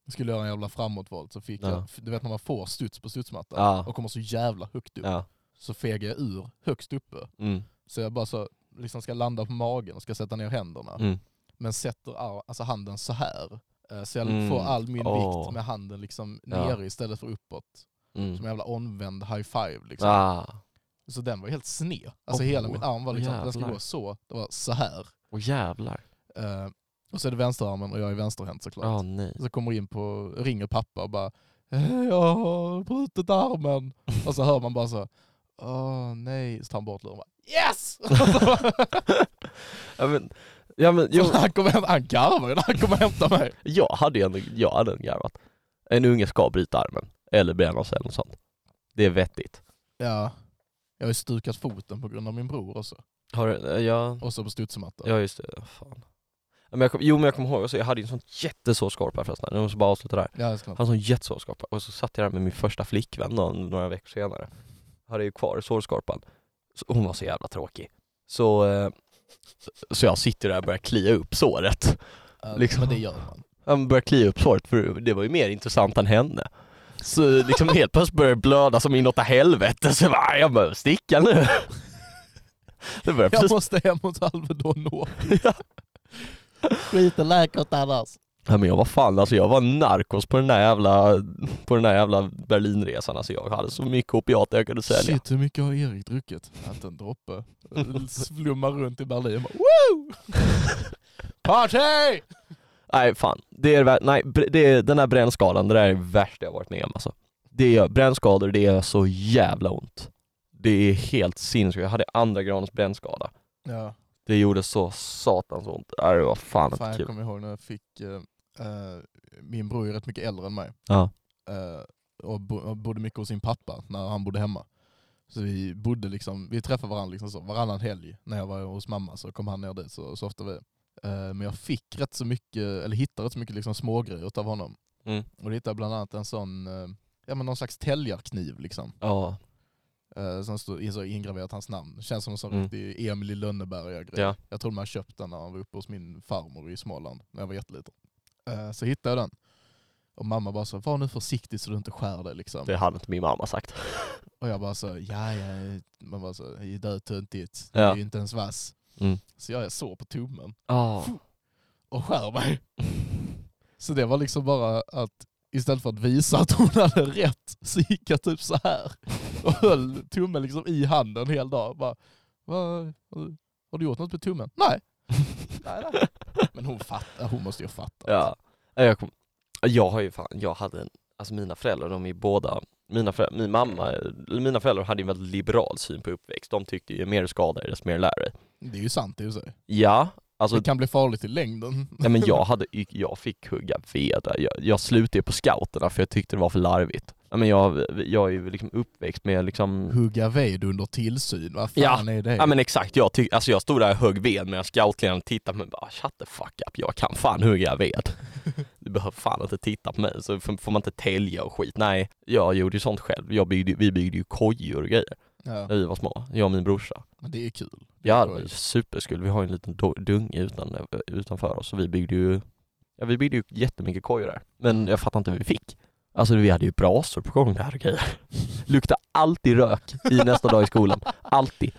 Speaker 2: Jag skulle göra en jävla framåtvolt så fick
Speaker 1: Ja.
Speaker 2: jag, du vet när man får studs på studsmattan
Speaker 1: Ja,
Speaker 2: och kommer så jävla högt upp.
Speaker 1: ja.
Speaker 2: Så fegade jag ur högst uppe.
Speaker 1: Mm,
Speaker 2: Så jag bara så, liksom ska landa på magen och ska sätta ner händerna.
Speaker 1: mm.
Speaker 2: Men sätter ar- alltså handen så här. Eh, Så jag
Speaker 1: Mm.
Speaker 2: får all min
Speaker 1: Åh.
Speaker 2: vikt med handen liksom
Speaker 1: Ja.
Speaker 2: nere istället för uppåt. Som
Speaker 1: mm.
Speaker 2: en jävla omvänd high five liksom.
Speaker 1: Ah.
Speaker 2: Så den var helt sned. Alltså
Speaker 1: Åh.
Speaker 2: hela min arm var liksom, den skulle
Speaker 1: Jävlar.
Speaker 2: gå så, det var så här.
Speaker 1: Och jävlar.
Speaker 2: Eh, och så är det vänsterarmen och jag är vänsterhänt såklart.
Speaker 1: Ja, nej.
Speaker 2: Så kommer in på, ringer pappa och bara "Eh, Jag har brutit armen. Och så hör man bara så Åh nej. Så tar han bort luren och bara Yes!
Speaker 1: ja men, ja, men
Speaker 2: Jo.
Speaker 1: jo,
Speaker 2: Han kommer hem- han garvar ju när han kommer och hämtar mig.
Speaker 1: jag hade ju ändå, jag hade ändå garvat. En unge ska bryta armen, eller bränna sig eller något sånt. Det är vettigt.
Speaker 2: Ja. Jag har ju stukat foten på grund av min bror också.
Speaker 1: Har du, eh, ja,
Speaker 2: Och så på studsmatta.
Speaker 1: ja just det, fan. Ja, Men jag kom, jo men jag kommer ihåg, alltså, jag hade ju en sån jättesvår skorpa förresten, jag måste bara avsluta där.
Speaker 2: Ja, det är snabbt.
Speaker 1: Jag hade en sån jättesvår skorpa, och så satt jag där med min första flickvän då, några veckor senare. Hade ju kvar sårskorpan. Så hon var så jävla tråkig. Så, eh, så jag sitter där och börjar klia upp såret.
Speaker 2: Ja,
Speaker 1: liksom.
Speaker 2: Men det gör man.
Speaker 1: Han började klia upp såret för det var ju mer intressant än henne. Så liksom helt plötsligt började det blöda som inåt helvete, så jag bara, "Ah, jag behöver sticka nu. Det började
Speaker 2: Jag
Speaker 1: precis...
Speaker 2: måste hem mot Alvedon nu. Skiten läkert annars.
Speaker 1: Ja, men jag var fan alltså, jag var narkos på den där jävla, på den där jävla Berlinresan alltså. Jag hade så mycket opiater jag kunde sälja.
Speaker 2: Shit hur mycket har Erik druckit? Inte en droppe. Slummar runt i Berlin. Bara, Woo! Party!
Speaker 1: Nej fan, det är, vä- nej, br- det är, den här brännskadan, det där är det värsta jag varit med om alltså. Det gör, brännskador, det gör så jävla ont. Det är helt sinnessjukt. Jag hade andra gradens brännskada.
Speaker 2: Ja.
Speaker 1: Det gjorde så satans ont. Nej, det var fan
Speaker 2: Fan,
Speaker 1: inte
Speaker 2: jag
Speaker 1: kul.
Speaker 2: kommer ihåg när jag fick, eh, eh, min bror är rätt mycket äldre än mig
Speaker 1: Ja.
Speaker 2: eh, och, bo, och bodde mycket hos sin pappa när han bodde hemma. Så vi bodde liksom, vi träffade varandra liksom så, varannan helg när jag var hos mamma så kom han ner dit så, så ofta vi. Eh, men jag fick rätt så mycket, eller hittade rätt så mycket liksom smågrejer utav honom.
Speaker 1: Mm.
Speaker 2: Och det hittade bland annat en sån, eh, ja men någon slags täljarkniv liksom.
Speaker 1: Ja.
Speaker 2: Eh, som stod så ingraverat hans namn. Känns som en sån
Speaker 1: Mm.
Speaker 2: riktig Emil i Lönneberga grej.
Speaker 1: Ja.
Speaker 2: Jag tror man köpt den när han var uppe hos min farmor i Småland när jag var jätteliten. Eh, så hittade jag den. Och mamma bara så, var nu försiktig så du inte skär dig liksom.
Speaker 1: Det hade inte min mamma sagt.
Speaker 2: Och jag bara så, ja ja, man bara så, det är dödtöntigt, det
Speaker 1: Ja.
Speaker 2: är ju inte ens vass.
Speaker 1: Mm.
Speaker 2: Så jag sår på tummen
Speaker 1: Ja.
Speaker 2: och skär mig. Så det var liksom bara att istället för att visa att hon hade rätt så gick jag typ så här och höll tummen liksom i handen en hel dag. Bara, "Vad- har du gjort något med tummen? Nej. nej, nej. Men hon fattar, hon måste ju ha fattat.
Speaker 1: ja. Nej, Jag, kom, jag har ju fan, jag hade en, alltså mina föräldrar de är ju båda, mina föräldrar, min mamma, eller mina föräldrar hade ju en väldigt liberal syn på uppväxt. De tyckte ju mer skada är desto mer lär dig.
Speaker 2: Det är ju sant i och för sig.
Speaker 1: Ja, alltså
Speaker 2: Det kan bli farligt i längden.
Speaker 1: Nej men jag, hade, jag fick hugga vedar, jag, jag slutade på scouterna för jag tyckte det var för larvigt. Nej, men jag, jag är ju liksom uppväxt med liksom
Speaker 2: Hugga ved under tillsyn, vad fan
Speaker 1: Ja.
Speaker 2: är det?
Speaker 1: Ja men exakt, jag, tyck, alltså jag stod där och högg ved medan scoutledaren tittade på mig och bara shut the fuck up, jag kan fan hugga ved. Du behöver fan inte titta på mig, så får får man inte tälja och skit. Nej, jag gjorde ju sånt själv. Jag byggde, vi byggde ju kojor och grejer
Speaker 2: Ja.
Speaker 1: när vi var små, jag och min brorsa.
Speaker 2: Men det är kul.
Speaker 1: Ja, det var ju superskul. Vi har ju en liten do- dunge utan, utanför oss så vi byggde ju, ja, vi byggde ju jättemycket kojor där. Men jag fattar inte hur vi fick. Alltså vi hade ju brasor på gång där och grejer. Lukta alltid rök i nästa dag i skolan. Alltid.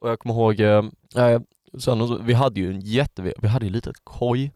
Speaker 1: Och jag kommer ihåg, eh, eh, sen, och så- vi hade ju en jätte, vi hade ju lite koj,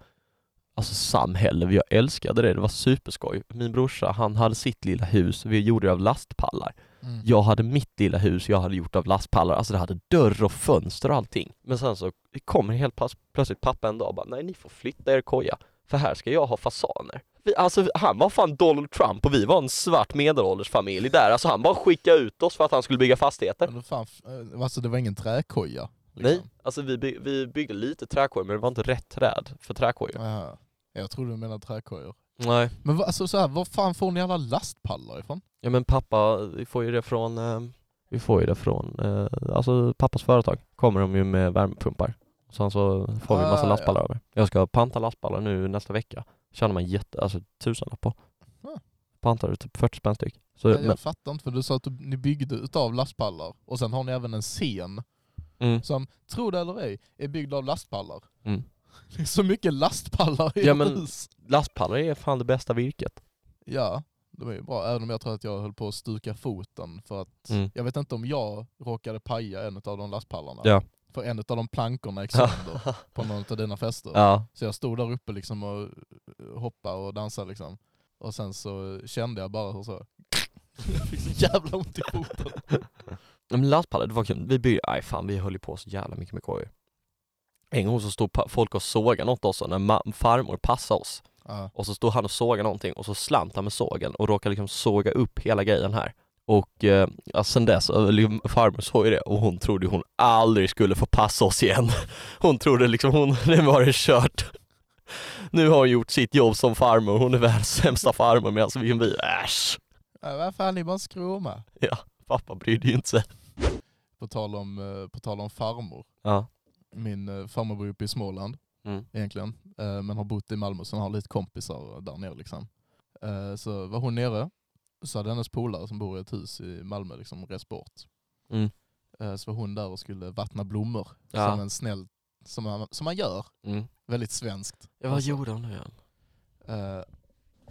Speaker 1: alltså samhälle, jag älskade det, det var superskoj. Min brorsa, han hade sitt lilla hus, vi gjorde det av lastpallar.
Speaker 2: Mm.
Speaker 1: Jag hade mitt lilla hus jag hade gjort av lastpallar, alltså det hade dörr och fönster och allting. Men sen så kommer helt pass, plötsligt pappa en dag och bara, nej ni får flytta er koja, för här ska jag ha fasaner. Vi, alltså han var fan Donald Trump och vi var en svart medelålders familj där, alltså han bara skickade ut oss för att han skulle bygga fastigheter.
Speaker 2: Men fan, f- eh, alltså det var ingen träkoja? liksom.
Speaker 1: Nej, alltså vi, by- vi byggde lite träkojor men det var inte rätt träd för träkojor.
Speaker 2: Jaha. Jag trodde du menade träkojor.
Speaker 1: Nej.
Speaker 2: Men va, alltså, så här, var fan får ni alla lastpallar ifrån?
Speaker 1: Ja men pappa, vi får ju det från, eh, vi får ju det från, eh, alltså pappas företag kommer de ju med värmepumpar. Sen så får vi en massa
Speaker 2: Ah,
Speaker 1: lastpallar över. Jag ska panta lastpallar nu nästa vecka. Tjänar man jätte, alltså tusenlapp på.
Speaker 2: Ah.
Speaker 1: Pantar du typ 40 spänn styck. Så,
Speaker 2: jag
Speaker 1: men,
Speaker 2: fattar inte, för du sa att du, ni byggde utav lastpallar och sen har ni även en scen
Speaker 1: mm.
Speaker 2: som, tro det eller ej, är byggd av lastpallar.
Speaker 1: Mm.
Speaker 2: Det är så mycket lastpallar i
Speaker 1: Ja,
Speaker 2: ett
Speaker 1: men-
Speaker 2: hus.
Speaker 1: Lastpallar är fan det bästa virket.
Speaker 2: Ja, de är ju bra. Även om jag tror att jag höll på att stuka foten för att
Speaker 1: Mm.
Speaker 2: jag vet inte om jag råkade paja en av de lastpallarna.
Speaker 1: Ja.
Speaker 2: För en av de plankorna gick sönder på någon av dina fester.
Speaker 1: ja.
Speaker 2: Så jag stod där uppe liksom och eh, hoppade och dansade liksom. Och sen så kände jag bara hur så... Jag fick så jävla ont i foten.
Speaker 1: Men lastpallar, det var kul. Vi byggde, aj fan vi höll ju på så jävla mycket med kojor. En gång så stod pa- folk och sågade något också när ma- farmor passade oss.
Speaker 2: Ja.
Speaker 1: och så stod han och sågade någonting och så slant han med sågen och råkade liksom såga upp hela grejen här. Och eh, alltså sen dess, eh, liksom, farmor såg ju det och hon trodde hon aldrig skulle få passa oss igen. Hon trodde liksom, hon, nu var det kört. Nu har hon gjort sitt jobb som farmor, hon är världens sämsta farmor medan vi kan bli, äsch.
Speaker 2: Äh, vad fan, ni bara en skroma.
Speaker 1: Pappa brydde ju inte sig.
Speaker 2: På tal om, eh, på tal om farmor.
Speaker 1: Ja.
Speaker 2: Min eh, farmor bor uppe i Småland
Speaker 1: Mm.
Speaker 2: egentligen, eh, men har bott i Malmö så hon har lite kompisar där nere. Liksom. Eh, så var hon nere, så hade hennes polare som bor i ett hus i Malmö liksom rest bort.
Speaker 1: Mm.
Speaker 2: Eh, så var hon där och skulle vattna blommor
Speaker 1: Ja.
Speaker 2: som en snäll, som man, som man gör,
Speaker 1: Mm.
Speaker 2: väldigt svenskt.
Speaker 1: Ja, vad gjorde hon nu igen?
Speaker 2: Eh,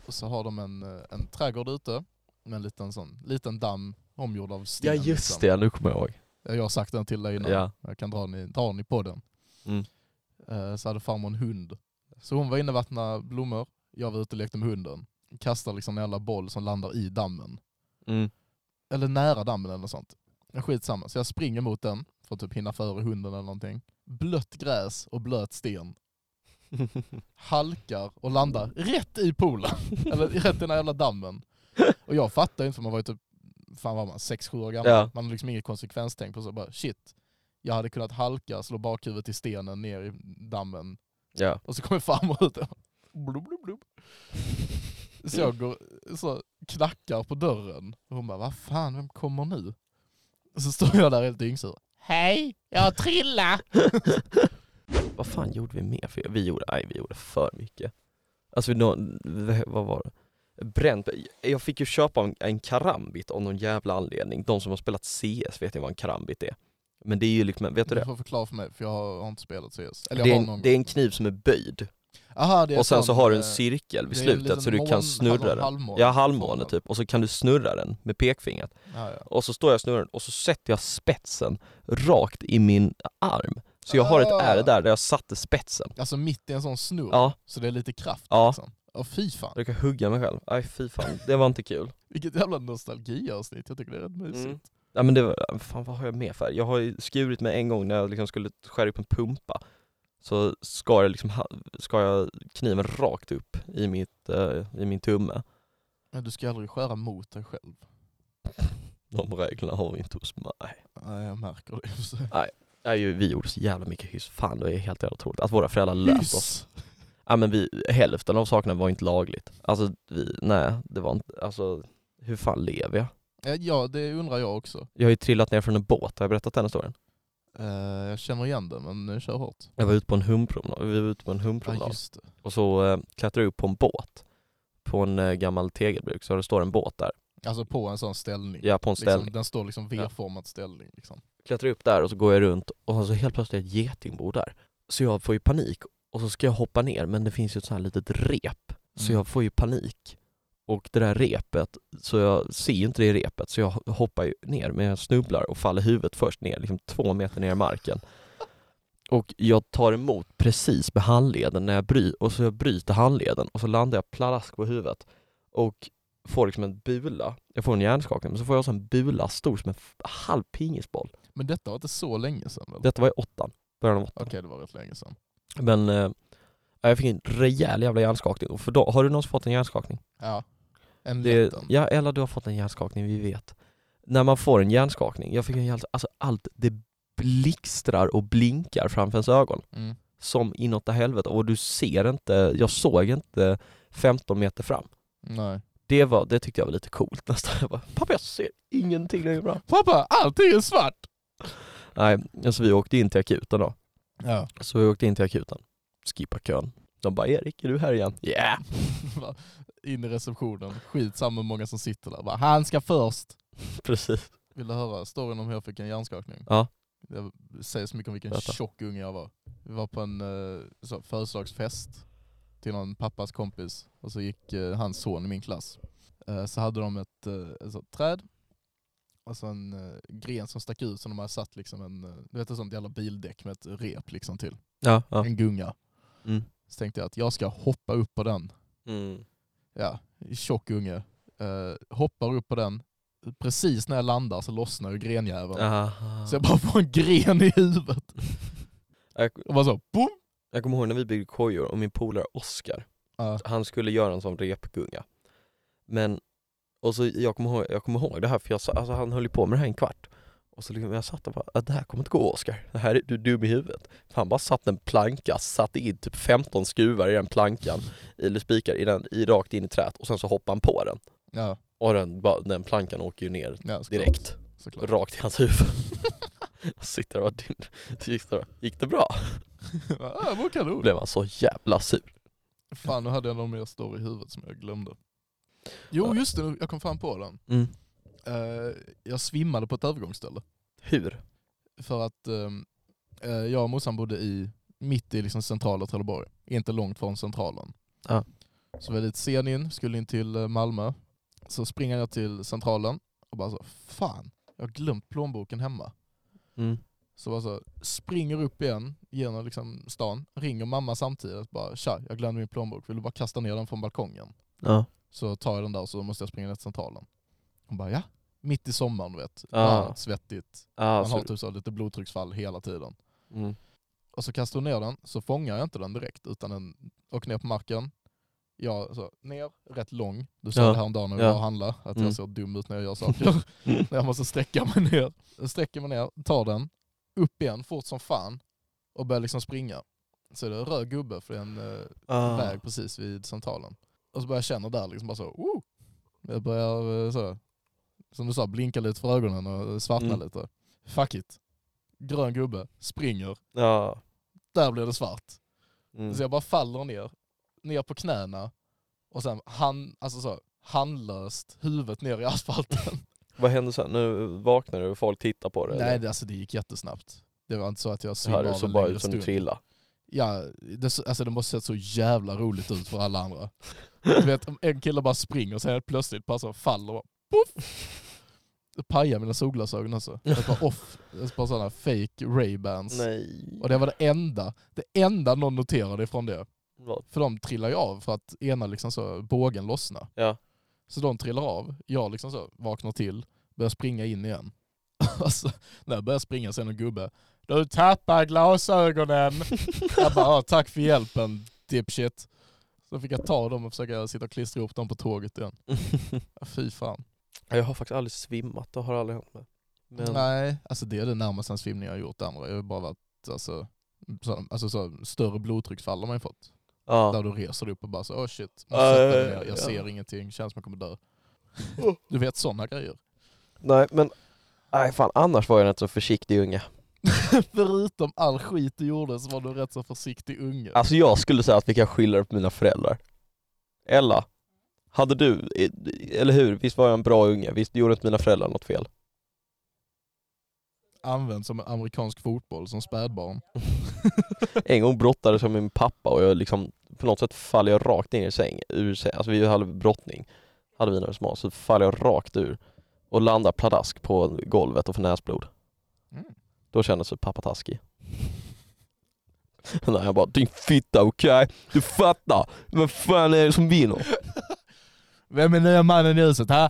Speaker 2: och så har de en, eh, en trädgård ute med en liten, sån, liten damm omgjord av sten.
Speaker 1: Ja just det, nu kommer jag ihåg.
Speaker 2: det. Jag har sagt den till dig innan.
Speaker 1: Ja.
Speaker 2: Jag kan dra den i, dra den i podden.
Speaker 1: Mm.
Speaker 2: Eh, så hade farmor en hund. Så hon var inne och vattnade blommor. Jag var ute och lekte med hunden. Kastar liksom en jävla boll som landar i dammen.
Speaker 1: Mm.
Speaker 2: Eller nära dammen eller något sånt. Men Skitsamma. Så jag springer mot den för att typ hinna före hunden eller någonting. Blött gräs och blöt sten. Halkar och landar rätt i poolen. eller rätt i den här jävla dammen. Och jag fattar ju inte för man var ju typ, fan var man, 6-7 år gammal.
Speaker 1: Ja.
Speaker 2: Man har liksom inget konsekvenstänk på så bara shit. Jag hade kunnat halka, slå bakhuvudet i stenen ner i dammen
Speaker 1: ja.
Speaker 2: och så kommer farmor ut och blub, blub, blub. Så jag går, så knackar på dörren och hon bara vad fan, vem kommer nu? Och så står jag där helt dyngsur. Hej, jag trillar!
Speaker 1: Vad fan gjorde vi mer för Vi gjorde, nej, vi gjorde för mycket. Alltså, vi, nå- v- vad var det? Bränt. Jag fick ju köpa en, en karambit av någon jävla anledning. De som har spelat CS vet ju vad en karambit är. Men det är ju liksom, vet du
Speaker 2: Du
Speaker 1: det?
Speaker 2: får förklara för mig för jag har, har inte spelat CS. Eller
Speaker 1: Det är,
Speaker 2: jag har någon
Speaker 1: en, det är en kniv som är böjd
Speaker 2: Aha, det är
Speaker 1: och sen
Speaker 2: sån,
Speaker 1: så har du
Speaker 2: eh,
Speaker 1: en cirkel vid
Speaker 2: det är en
Speaker 1: slutet
Speaker 2: liten
Speaker 1: så du
Speaker 2: mån- alltså,
Speaker 1: kan snurra den.
Speaker 2: halvmåne. liksom.
Speaker 1: Ja, halvmåne typ. Och så kan du snurra den med pekfingret.
Speaker 2: Ja, ja.
Speaker 1: Och så står jag och snurrar den och så sätter jag spetsen rakt i min arm. Så jag har ett
Speaker 2: Ah.
Speaker 1: ärr där, där jag satte spetsen.
Speaker 2: Alltså mitt i en sån snurr,
Speaker 1: Ja,
Speaker 2: så det är lite kraft
Speaker 1: Ja.
Speaker 2: liksom. Ja fy fan.
Speaker 1: jag kan hugga mig själv. Aj fy fan, det var inte kul.
Speaker 2: Vilket jävla nostalgiavsnitt, jag tycker det är rätt mysigt.
Speaker 1: Mm. Ja men det var, fan vad har jag med för? Jag har ju skurit mig en gång när jag liksom skulle skära upp en pumpa. Så skar jag, liksom, ha- skar jag kniven rakt upp i, mitt, eh, i min tumme.
Speaker 2: Men du ska aldrig skära mot dig själv.
Speaker 1: De reglerna har vi inte hos mig.
Speaker 2: Nej, jag märker det i och för sig.
Speaker 1: Nej, ju, vi gjorde så jävla mycket hyss. Fan det är helt jävla otroligt att våra föräldrar lät oss.
Speaker 2: Hyss!
Speaker 1: Ja men vi, hälften av sakerna var inte lagligt. Alltså vi, nej det var inte, alltså hur fan lever jag?
Speaker 2: Eh, Ja, det undrar jag också.
Speaker 1: Jag har ju trillat ner från en båt, har jag berättat den historien?
Speaker 2: Eh, jag känner igen det, men eh, kör hårt.
Speaker 1: Jag var ute på en humpromenad, vi var ute på en
Speaker 2: Ja,
Speaker 1: humpromenad.
Speaker 2: just det.
Speaker 1: Och så eh, klättrar jag upp på en båt. På en eh, gammal tegelbruk, så det står en båt där.
Speaker 2: Alltså på en sån ställning.
Speaker 1: Ja, på en ställning.
Speaker 2: Liksom, den står liksom V-formad ställning. Liksom.
Speaker 1: Klättrar upp där och så går jag runt och sen så helt plötsligt är ett getingbo där. Så jag får ju panik och så ska jag hoppa ner men det finns ju ett sånt här litet rep. Så
Speaker 2: Mm.
Speaker 1: jag får ju panik. Och det där repet, så jag ser ju inte det repet så jag hoppar ju ner men jag snubblar och faller huvudet först ner, liksom två meter ner i marken. Och jag tar emot precis med handleden när jag bry- och så jag bryter handleden och så landar jag pladask på huvudet och får liksom en bula. Jag får en hjärnskakning men så får jag också en bula stor som en f- halv pingisboll.
Speaker 2: Men detta var inte så länge sedan väl?
Speaker 1: Detta var i åttan, början av åttan.
Speaker 2: Okej, det var rätt länge sedan.
Speaker 1: Men eh, jag fick en rejäl jävla hjärnskakning. Och för då, har du någonsin fått en hjärnskakning?
Speaker 2: Ja. En
Speaker 1: Det-
Speaker 2: liten.
Speaker 1: ja, eller du har fått en hjärnskakning, vi vet. När man får en hjärnskakning, jag fick en hjärnskakning, alltså allt det blixtrar och blinkar framför ens ögon.
Speaker 2: Mm.
Speaker 1: Som inåt det helvete. Och du ser inte, jag såg inte 15 meter fram.
Speaker 2: Nej.
Speaker 1: Det, var, det tyckte jag var lite coolt nästan. Jag bara, pappa jag ser ingenting längre fram.
Speaker 2: Pappa, allting är svart!
Speaker 1: Nej, alltså vi åkte in till akuten då.
Speaker 2: Ja.
Speaker 1: Så vi åkte in till akuten. Skippa kön. De bara, Erik är du här igen? Ja! Yeah.
Speaker 2: Va? In i receptionen, skitsamma hur många som sitter där. Va? Han ska först!
Speaker 1: Precis.
Speaker 2: Vill du höra storyn om hur jag fick en hjärnskakning?
Speaker 1: Ja.
Speaker 2: Jag säger så mycket om vilken
Speaker 1: Berätta.
Speaker 2: tjock unge jag var. Vi var på en eh, så, födelsedagsfest till någon pappas kompis och så gick eh, hans son i min klass. Eh, så hade de ett, eh, ett sånt träd och så en eh, gren som stack ut som de hade satt liksom en, eh, du vet ett sånt jävla bildäck med ett rep liksom till.
Speaker 1: Ja, ja.
Speaker 2: En gunga.
Speaker 1: Mm.
Speaker 2: Så tänkte jag att jag ska hoppa upp på den ja, tjock unge, eh, hoppar upp på den. Precis när jag landar så lossnar ju grenjäveln.
Speaker 1: Aha.
Speaker 2: Så jag bara får en gren i huvudet.
Speaker 1: Jag,
Speaker 2: Och bara så, boom!
Speaker 1: jag kommer ihåg när vi byggde kojor och min polare Oskar,
Speaker 2: Ja,
Speaker 1: han skulle göra en sån repgunga. Men, och så, jag, kommer ihåg, jag kommer ihåg det här för jag, sa- alltså, han höll ju på med det här en kvart. Och så liksom, jag satt och bara, "Ah, det här kommer inte gå Oskar, det här är du är dum i huvudet. För han bara satt en planka, satte in typ 15 skruvar i den plankan, eller spikar, i den, i, rakt in i träet och sen så hoppade han på den.
Speaker 2: ja,
Speaker 1: Och den, bara- den plankan åker ju ner
Speaker 2: ja såklart,
Speaker 1: direkt,
Speaker 2: Såklart.
Speaker 1: rakt i hans huvud. Jag sitter och din, gick det- gick det bra?
Speaker 2: Ja, det var kanon.
Speaker 1: Blev han så jävla sur?
Speaker 2: Fan, nu hade jag någon mer story i huvudet som jag glömde. Jo, just det. Jag kom fram på den.
Speaker 1: Mm.
Speaker 2: Eh, jag svimmade på ett övergångsställe.
Speaker 1: Hur?
Speaker 2: För att ehm, eh, jag och morsan bodde i, mitt i liksom centrala Trelleborg. Inte långt från centralen.
Speaker 1: Ja.
Speaker 2: Så väldigt sen in, skulle in till eh, Malmö. Så springer jag till centralen och bara så, fan, jag har glömt plånboken hemma.
Speaker 1: Mm.
Speaker 2: Så bara så, springer upp igen genom liksom stan, ringer mamma samtidigt bara tja, jag glömde min plånbok, vill du bara kasta ner den från balkongen?
Speaker 1: Ja.
Speaker 2: Så tar jag den där och så måste jag springa ner till centralen. Hon bara ja, mitt i sommaren du vet,
Speaker 1: Ja.
Speaker 2: varmt, svettigt,
Speaker 1: Ah,
Speaker 2: man har
Speaker 1: så,
Speaker 2: typ så lite blodtrycksfall hela tiden.
Speaker 1: mm.
Speaker 2: Och så kastar hon ner den, så fångar jag inte den direkt utan den åker ner på marken. Jag så, ner, rätt lång. Du sa
Speaker 1: Ja.
Speaker 2: det häromdagen när vi
Speaker 1: Ja.
Speaker 2: var och handlade, att
Speaker 1: Mm.
Speaker 2: jag ser dum ut när jag gör saker. när jag måste sträcka mig ner. Jag sträcker mig ner, tar den, upp igen fort som fan och börjar liksom springa. Så är det en röd gubbe för det är en eh,
Speaker 1: ah.
Speaker 2: väg precis vid centralen. Och så börjar jag känna där liksom bara så, oh! Jag börjar eh, så, som du sa, blinka lite för ögonen och svartna
Speaker 1: Mm.
Speaker 2: lite. Fuck it. Grön gubbe, springer,
Speaker 1: Ja.
Speaker 2: där blir det svart.
Speaker 1: Mm.
Speaker 2: Så jag bara faller ner, ner på knäna och sen han, alltså så, handlöst, huvudet ner i asfalten.
Speaker 1: Vad hände sen? Nu vaknar du och folk tittar på dig?
Speaker 2: Nej, det, alltså det gick jättesnabbt. Det var inte så att jag
Speaker 1: Hör
Speaker 2: svimmade
Speaker 1: du
Speaker 2: av
Speaker 1: så
Speaker 2: en
Speaker 1: bara
Speaker 2: längre
Speaker 1: ut som du
Speaker 2: stund.
Speaker 1: trillade?
Speaker 2: Ja, det, så- alltså det måste sett så jävla roligt ut för alla andra. Du vet, om en kille bara springer och sen helt plötsligt bara så faller och bara, poff! Det pajade mina solglasögon alltså. Ett par off, ett par sådana fake Ray-Bans.
Speaker 1: Nej.
Speaker 2: Alltså. Och det var det enda, det enda någon noterade ifrån det.
Speaker 1: Vad?
Speaker 2: För de trillar ju av för att ena liksom så, bågen lossnar.
Speaker 1: Ja.
Speaker 2: Så de trillar av, jag liksom så vaknar till, börjar springa in igen. alltså, när jag börjar springa så är det en gubbe, du tappar glasögonen! jag bara, "Ja, tack för hjälpen dipshit. Så fick jag ta dem och försöka sitta och klistra ihop dem på tåget igen. Ja, Fy fan.
Speaker 1: Jag har faktiskt aldrig svimmat, det har aldrig hänt mig. Men,
Speaker 2: Nej, alltså det är det närmaste en svimning jag har gjort det andra. Jag har bara varit, alltså, så, alltså så, större blodtrycksfall har man ju fått.
Speaker 1: ja.
Speaker 2: Där du reser dig upp och bara så, oh shit,
Speaker 1: Ja, ja,
Speaker 2: måste sätta mig
Speaker 1: ja,
Speaker 2: ner,
Speaker 1: ja.
Speaker 2: jag ser ingenting, känns som jag kommer dö.
Speaker 1: Oh.
Speaker 2: Du vet sådana grejer.
Speaker 1: Nej men, nej fan annars var jag en rätt så försiktig unge.
Speaker 2: Förutom all skit du gjorde så var du rätt så försiktig unge.
Speaker 1: Alltså jag skulle säga att vi kan skylla det på mina föräldrar. Ella, hade du, eh, eller hur, visst var jag en bra unge? Visst gjorde inte mina föräldrar något fel?
Speaker 2: Använd som en amerikansk fotboll, som spädbarn.
Speaker 1: En gång brottades jag med min pappa och jag liksom, på något sätt faller jag rakt ner i säng, ur säng. Alltså vi hade brottning, hade vi när vi var små, så faller jag rakt ur och landar pladask på golvet och får näsblod.
Speaker 2: Mm.
Speaker 1: Då kändes det pappa taskig. Nej, jag bara din fitta okej, du fattar. Vem fan är det som vinner?
Speaker 2: Vem är nya mannen i huset, ha?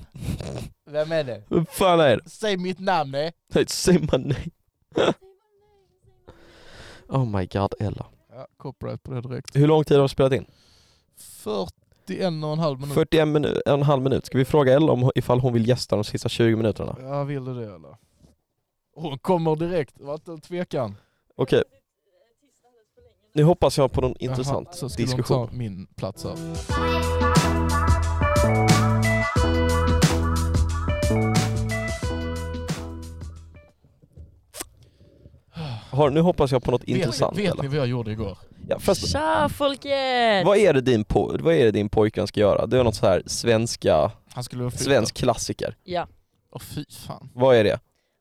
Speaker 2: Vem är det?
Speaker 1: Vem fan är det?
Speaker 2: Säg mitt namn, eh. nej!
Speaker 1: Nej, Säg my name. oh my god Ella.
Speaker 2: Ja, copyright på det direkt.
Speaker 1: Hur lång tid har du spelat in?
Speaker 2: 41 och en halv minut.
Speaker 1: 41 minu- en och en halv minut. Ska vi fråga Ella om, ifall hon vill gästa de sista 20 minuterna?
Speaker 2: Ja, vill du det eller? Hon kommer direkt, var inte en tvekan.
Speaker 1: Okej. Nu hoppas jag på någon intressant
Speaker 2: Jaha, så skulle hon
Speaker 1: diskussion.
Speaker 2: ta min plats här.
Speaker 1: Har, nu hoppas jag på något intressant
Speaker 2: Vet, vet
Speaker 1: Ella.
Speaker 2: ni vad jag gjorde igår?
Speaker 1: Ja, fast,
Speaker 3: Tja folket!
Speaker 1: vad, är det din po- vad är det din pojkvän ska göra? Det är något så här svenska,
Speaker 2: Han skulle vara fri-
Speaker 1: svensk klassiker.
Speaker 3: Ja,
Speaker 2: Åh fy fan.
Speaker 1: Vad är det?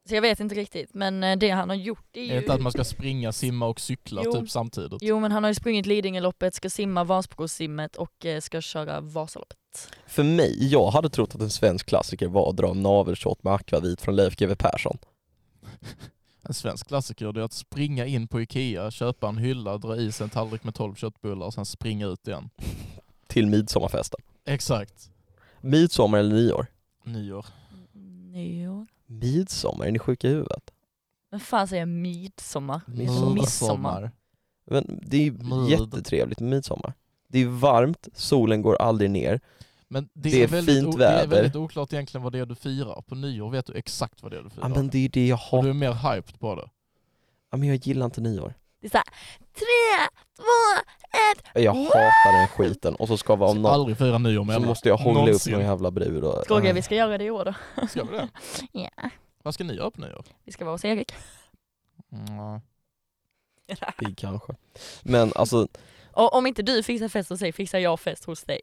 Speaker 3: så jag vet inte riktigt men eh, det han har gjort det
Speaker 2: Är det
Speaker 3: är
Speaker 2: inte att
Speaker 3: ju...
Speaker 2: man ska springa, simma och cykla
Speaker 3: Jo.
Speaker 2: typ samtidigt?
Speaker 3: Jo men han har ju sprungit Lidingöloppet, ska simma Vansbrosimmet och eh, ska köra Vasaloppet.
Speaker 1: För mig, jag hade trott att en svensk klassiker var att dra en navelshot med akvavit från Leif GW Persson.
Speaker 2: En svensk klassiker det är att springa in på Ikea, köpa en hylla, dra i sig en tallrik med 12 köttbullar och sen springa ut igen.
Speaker 1: Till midsommarfesten.
Speaker 2: Exakt.
Speaker 1: Midsommar eller nyår?
Speaker 2: Nyår.
Speaker 3: Nyår.
Speaker 1: Midsommar, är ni sjuka i huvudet?
Speaker 3: Vem fan säger midsommar?
Speaker 1: Midsommar.
Speaker 3: Midsommar.
Speaker 1: Men det är ju
Speaker 2: Mid.
Speaker 1: jättetrevligt med midsommar. Det är varmt, solen går aldrig ner.
Speaker 2: Men det,
Speaker 1: Det är
Speaker 2: är väldigt,
Speaker 1: fint
Speaker 2: o- Det
Speaker 1: väder.
Speaker 2: är väldigt oklart egentligen vad det är du firar. På nyår vet du exakt vad det är du
Speaker 1: Ja,
Speaker 2: firar.
Speaker 1: men det är det jag
Speaker 2: Och
Speaker 1: har.
Speaker 2: du är mer hyped på det.
Speaker 1: Ja, men jag gillar inte nyår.
Speaker 3: Det är såhär, tre, två, ett!
Speaker 1: Jag hatar den skiten och så ska vara om
Speaker 2: Ska
Speaker 1: något
Speaker 2: aldrig fira nyår med
Speaker 1: så
Speaker 2: alla.
Speaker 1: måste jag hångla
Speaker 2: Någonsin.
Speaker 1: upp någon jävla brud och...
Speaker 3: Skåga, vi ska göra det i år då.
Speaker 2: Ska vi det?
Speaker 3: Ja,
Speaker 2: Vad ska ni göra på nyår?
Speaker 3: vi ska vara hos Erik.
Speaker 2: Mm.
Speaker 1: Pigg kanske. Men alltså,
Speaker 3: Och om inte du fixar fest hos dig, fixar jag fest hos dig.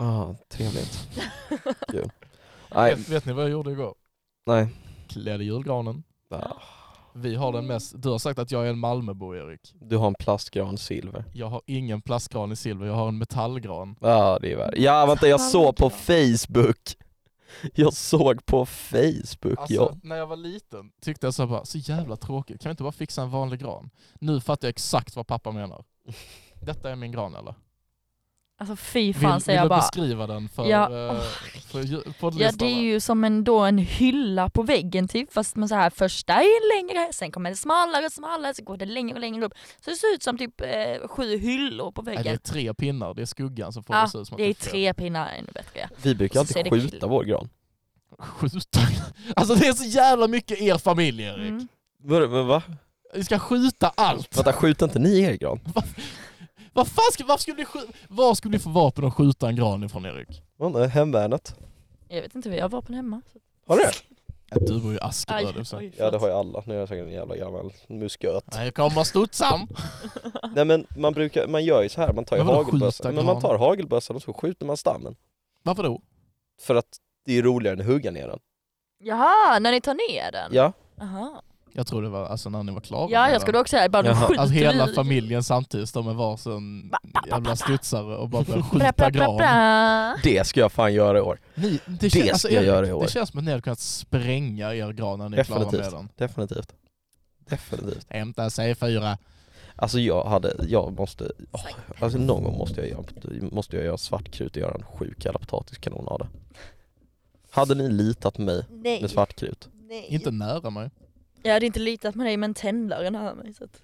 Speaker 1: ah, trevligt. Kul. Nej,
Speaker 2: Vet, vet ni vad jag gjorde igår?
Speaker 1: nej.
Speaker 2: Klädde julgranen.
Speaker 1: Ah,
Speaker 2: Vi har
Speaker 3: Mm.
Speaker 2: den mest, du har sagt att jag är en Malmöbo Erik.
Speaker 1: Du har en plastgran silver.
Speaker 2: Jag har ingen plastgran i silver, jag har en metallgran.
Speaker 1: Ja ah, det är värre. Ja vänta jag såg på Facebook. Jag såg på Facebook.
Speaker 2: Alltså
Speaker 1: ja.
Speaker 2: när jag var liten tyckte jag så här bara, så jävla tråkigt, kan vi inte bara fixa en vanlig gran? Nu fattar jag exakt vad pappa menar. Detta är min gran eller?
Speaker 3: Alltså fy
Speaker 2: Vill,
Speaker 3: fan
Speaker 2: vill
Speaker 3: säger
Speaker 2: du
Speaker 3: jag bara.
Speaker 2: beskriva den för,
Speaker 3: Ja,
Speaker 2: eh,
Speaker 3: åh.
Speaker 2: för ju-
Speaker 3: Ja
Speaker 2: poddlyssnarna?
Speaker 3: det är ju som en, då en hylla på väggen typ fast med så här första är längre, sen kommer det smalare och smalare, sen går det längre och längre upp. Så det ser ut som typ eh, sju hyllor på
Speaker 2: Nej, det är
Speaker 3: väggen.
Speaker 2: tre pinnar, det är skuggan som får det
Speaker 3: Ja,
Speaker 2: att se ut som att
Speaker 3: det är
Speaker 2: fel.
Speaker 3: tre pinnar ännu bättre. ja.
Speaker 1: Vi brukar
Speaker 3: Och så
Speaker 1: alltid
Speaker 3: ser det
Speaker 1: skjuta vår gran.
Speaker 2: Skjuta? Alltså det är så jävla mycket er familj Erik.
Speaker 3: Mm.
Speaker 1: Vadå, men va?
Speaker 2: Ni ska skjuta allt!
Speaker 1: Vänta skjuter inte ni er gran?
Speaker 2: Vad fan ska, varför skulle ni skjuta, var skulle ni få vapen att skjuta en gran ifrån Erik?
Speaker 1: Man, eh, hemvärnet.
Speaker 3: Jag vet inte, vi har vapen hemma.
Speaker 1: Har du det?
Speaker 2: Du bor ju i Askerö du säger.
Speaker 3: oj,
Speaker 1: Ja det
Speaker 3: förlåt.
Speaker 1: har ju alla. Nu är jag säkert en jävla gammal musköt.
Speaker 2: Nej, kommer studsan!
Speaker 1: Nej men man brukar, man gör ju så här, man tar ju
Speaker 2: Men vadå, skjuta
Speaker 1: hagelbössa. Men man
Speaker 2: gran?
Speaker 1: tar hagelbössan och så skjuter man stammen.
Speaker 2: Varför då?
Speaker 1: För att det är roligare än att hugga ner den.
Speaker 3: Jaha, när ni tar ner den?
Speaker 1: Ja.
Speaker 3: Jaha.
Speaker 2: Jag tror det var alltså när ni var klara.
Speaker 3: Ja,
Speaker 2: med
Speaker 3: jag skulle
Speaker 2: den.
Speaker 3: också säga bara du
Speaker 1: Jaha.
Speaker 3: skjuter
Speaker 2: Alltså hela
Speaker 3: i-
Speaker 2: familjen samtidigt, de är varsin
Speaker 3: Ba, ba, ba,
Speaker 2: jävla
Speaker 3: ba.
Speaker 2: studsare och bara börjar
Speaker 3: Bra, bra,
Speaker 2: skjuta
Speaker 3: bra,
Speaker 2: gran.
Speaker 3: bra.
Speaker 1: Det ska jag fan göra i år.
Speaker 2: Ni, det,
Speaker 1: Det
Speaker 2: känns,
Speaker 1: ska
Speaker 2: alltså,
Speaker 1: jag
Speaker 2: Erik,
Speaker 1: göra i år.
Speaker 2: det känns som att ni hade kunnat spränga er gran när ni är klara med
Speaker 1: Definitivt.
Speaker 2: den.
Speaker 1: Definitivt. Definitivt.
Speaker 2: Hämta C4.
Speaker 1: Alltså jag hade, jag måste, åh, alltså någon gång måste jag göra, måste jag göra svartkrut och göra en sjuk jävla potatiskanon av det. Hade ni litat på mig
Speaker 3: Nej.
Speaker 1: med svartkrut?
Speaker 3: Nej.
Speaker 2: Inte nära mig.
Speaker 3: Jag hade inte litat på dig men tändlaren hör mig. Så att...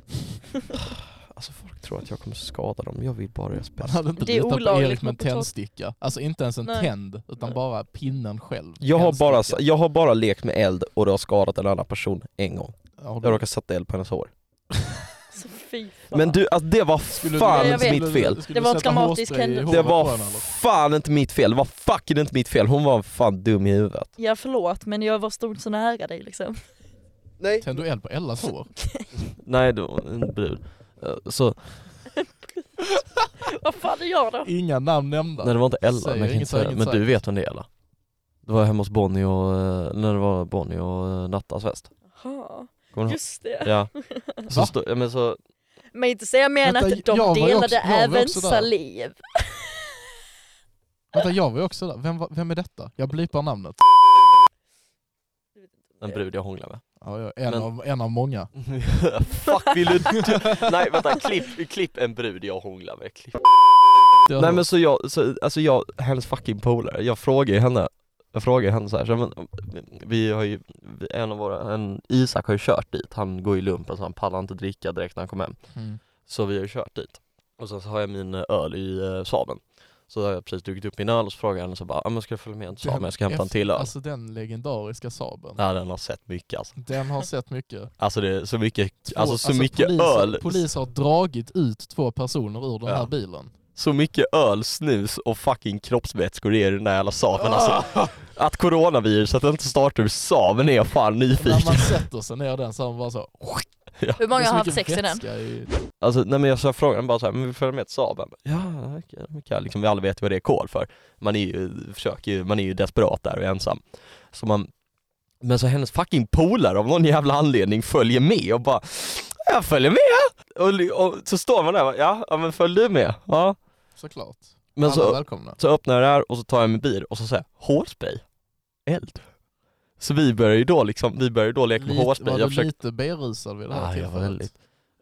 Speaker 1: Alltså folk tror att jag kommer skada dem, jag vill bara deras
Speaker 2: Man
Speaker 1: bästa.
Speaker 2: hade inte
Speaker 3: Det är
Speaker 2: litat på
Speaker 3: olagligt
Speaker 2: Erik med en
Speaker 3: med potat-
Speaker 2: tändsticka. Alltså inte ens en
Speaker 3: Nej.
Speaker 2: tänd, utan
Speaker 1: Nej.
Speaker 2: bara pinnen själv.
Speaker 1: Jag har, bara,
Speaker 2: Tändsticka.
Speaker 1: jag har bara lekt med eld och det har skadat en annan person en gång.
Speaker 2: Ja,
Speaker 1: Jag råkade sätta eld på hennes hår.
Speaker 3: Alltså fy fan.
Speaker 1: Men du, alltså, det var fan
Speaker 3: Ja, jag
Speaker 1: inte
Speaker 3: vet.
Speaker 1: mitt fel.
Speaker 2: Skulle
Speaker 3: Det var
Speaker 2: du sätta
Speaker 3: traumatisk
Speaker 2: hårspray i
Speaker 3: händelse.
Speaker 2: håret
Speaker 1: Det
Speaker 2: på
Speaker 1: var
Speaker 2: henne, eller?
Speaker 1: fan inte mitt fel, det var fucking inte mitt fel. Hon var fan dum i huvudet.
Speaker 3: Ja förlåt men jag var stod så nära dig liksom.
Speaker 1: Nej.
Speaker 2: Tände du eld på Ellas hår?
Speaker 1: Nej, det var en brud. Eh, Så,
Speaker 3: Vad fan gör då?
Speaker 2: Inga namn nämnda.
Speaker 1: nej det var inte Ella,
Speaker 2: Säger
Speaker 1: men, jag kan
Speaker 2: inget,
Speaker 1: inte säga,
Speaker 2: säger
Speaker 1: det.
Speaker 2: inget,
Speaker 1: men du
Speaker 2: säger
Speaker 1: vet vem det är Ella? Det var hemma hos Bonnie och, eh, när det var Bonnie och eh, Nattas fest.
Speaker 3: Jaha,
Speaker 1: Kommer du ihåg?
Speaker 3: just det.
Speaker 1: Ja. Så
Speaker 2: Va?
Speaker 1: stod, ja, men så,
Speaker 3: Men inte säga mer än
Speaker 2: Vänta,
Speaker 3: att de
Speaker 2: jag var ju också-
Speaker 3: delade
Speaker 2: jag var ju
Speaker 3: även
Speaker 2: också där.
Speaker 3: saliv.
Speaker 2: Vänta, jag var ju också där. Vem, var- vem är detta? Jag blipar namnet.
Speaker 1: en brud jag hånglade med.
Speaker 2: Ja, jag, en,
Speaker 1: Men-
Speaker 2: av, en av många.
Speaker 1: Fuck vill du Nej vänta, klipp, klipp en brud jag hånglar med. Klipp.
Speaker 2: Det
Speaker 1: Nej men så jag, så, alltså jag, hennes fucking polare, jag frågar ju henne jag frågar henne så här, så, men, vi har ju, en av våra, en, Isak har ju kört dit, han går i lumpen så han pallar inte dricka direkt när han kommer hem.
Speaker 2: Mm.
Speaker 1: Så vi har ju kört dit. Och sen så har jag min eh, öl i eh, Saaben. Så har jag precis druckit upp min öl och så frågar jag henne så bara, ah, men ska du följa med till Saaben? Jag ska hämta en till öl.
Speaker 2: Alltså den legendariska Saaben.
Speaker 1: Ja den har sett mycket alltså.
Speaker 2: Den har sett mycket.
Speaker 1: Alltså det är så mycket,
Speaker 2: Två-
Speaker 1: alltså så mycket
Speaker 2: polis,
Speaker 1: öl,
Speaker 2: Polis har dragit ut två personer ur den
Speaker 1: Ja.
Speaker 2: här bilen.
Speaker 1: så mycket öl, snus och fucking kroppsvätskor det är i den där jävla Saaben
Speaker 2: Ah.
Speaker 1: alltså. Att coronaviruset inte startar ur Saaben är jag fan
Speaker 2: När
Speaker 1: nyfiken.
Speaker 2: man sätter sig ner i den så har man bara så...
Speaker 3: Hur många
Speaker 2: Det är så
Speaker 3: har haft
Speaker 2: mycket
Speaker 3: sex i den?
Speaker 2: vätska i-
Speaker 1: Alltså nej men jag sa frågan bara såhär, men vi följer med till Saaben? Ja, okej, det kan jag. liksom vi alla vet vad det är kod för. Man är ju, försöker ju, man är ju desperat där och ensam. Så man, men så hennes fucking polare av någon jävla anledning följer med och bara, jag följer med! Och, och så står man där, och bara, ja, ja men följ du med? Ja.
Speaker 2: Såklart.
Speaker 1: Men
Speaker 2: Alla
Speaker 1: så,
Speaker 2: välkomna.
Speaker 1: så öppnar jag det här och så tar jag min bil och så säger jag, hårspray? Eld? Så vi börjar ju då liksom, vi börjar ju då leka med
Speaker 2: Lite, var
Speaker 1: hårspray.
Speaker 2: du
Speaker 1: Jag försöker,
Speaker 2: lite berusad vid det här
Speaker 1: Ja, jag
Speaker 2: tillfället?
Speaker 1: var väldigt-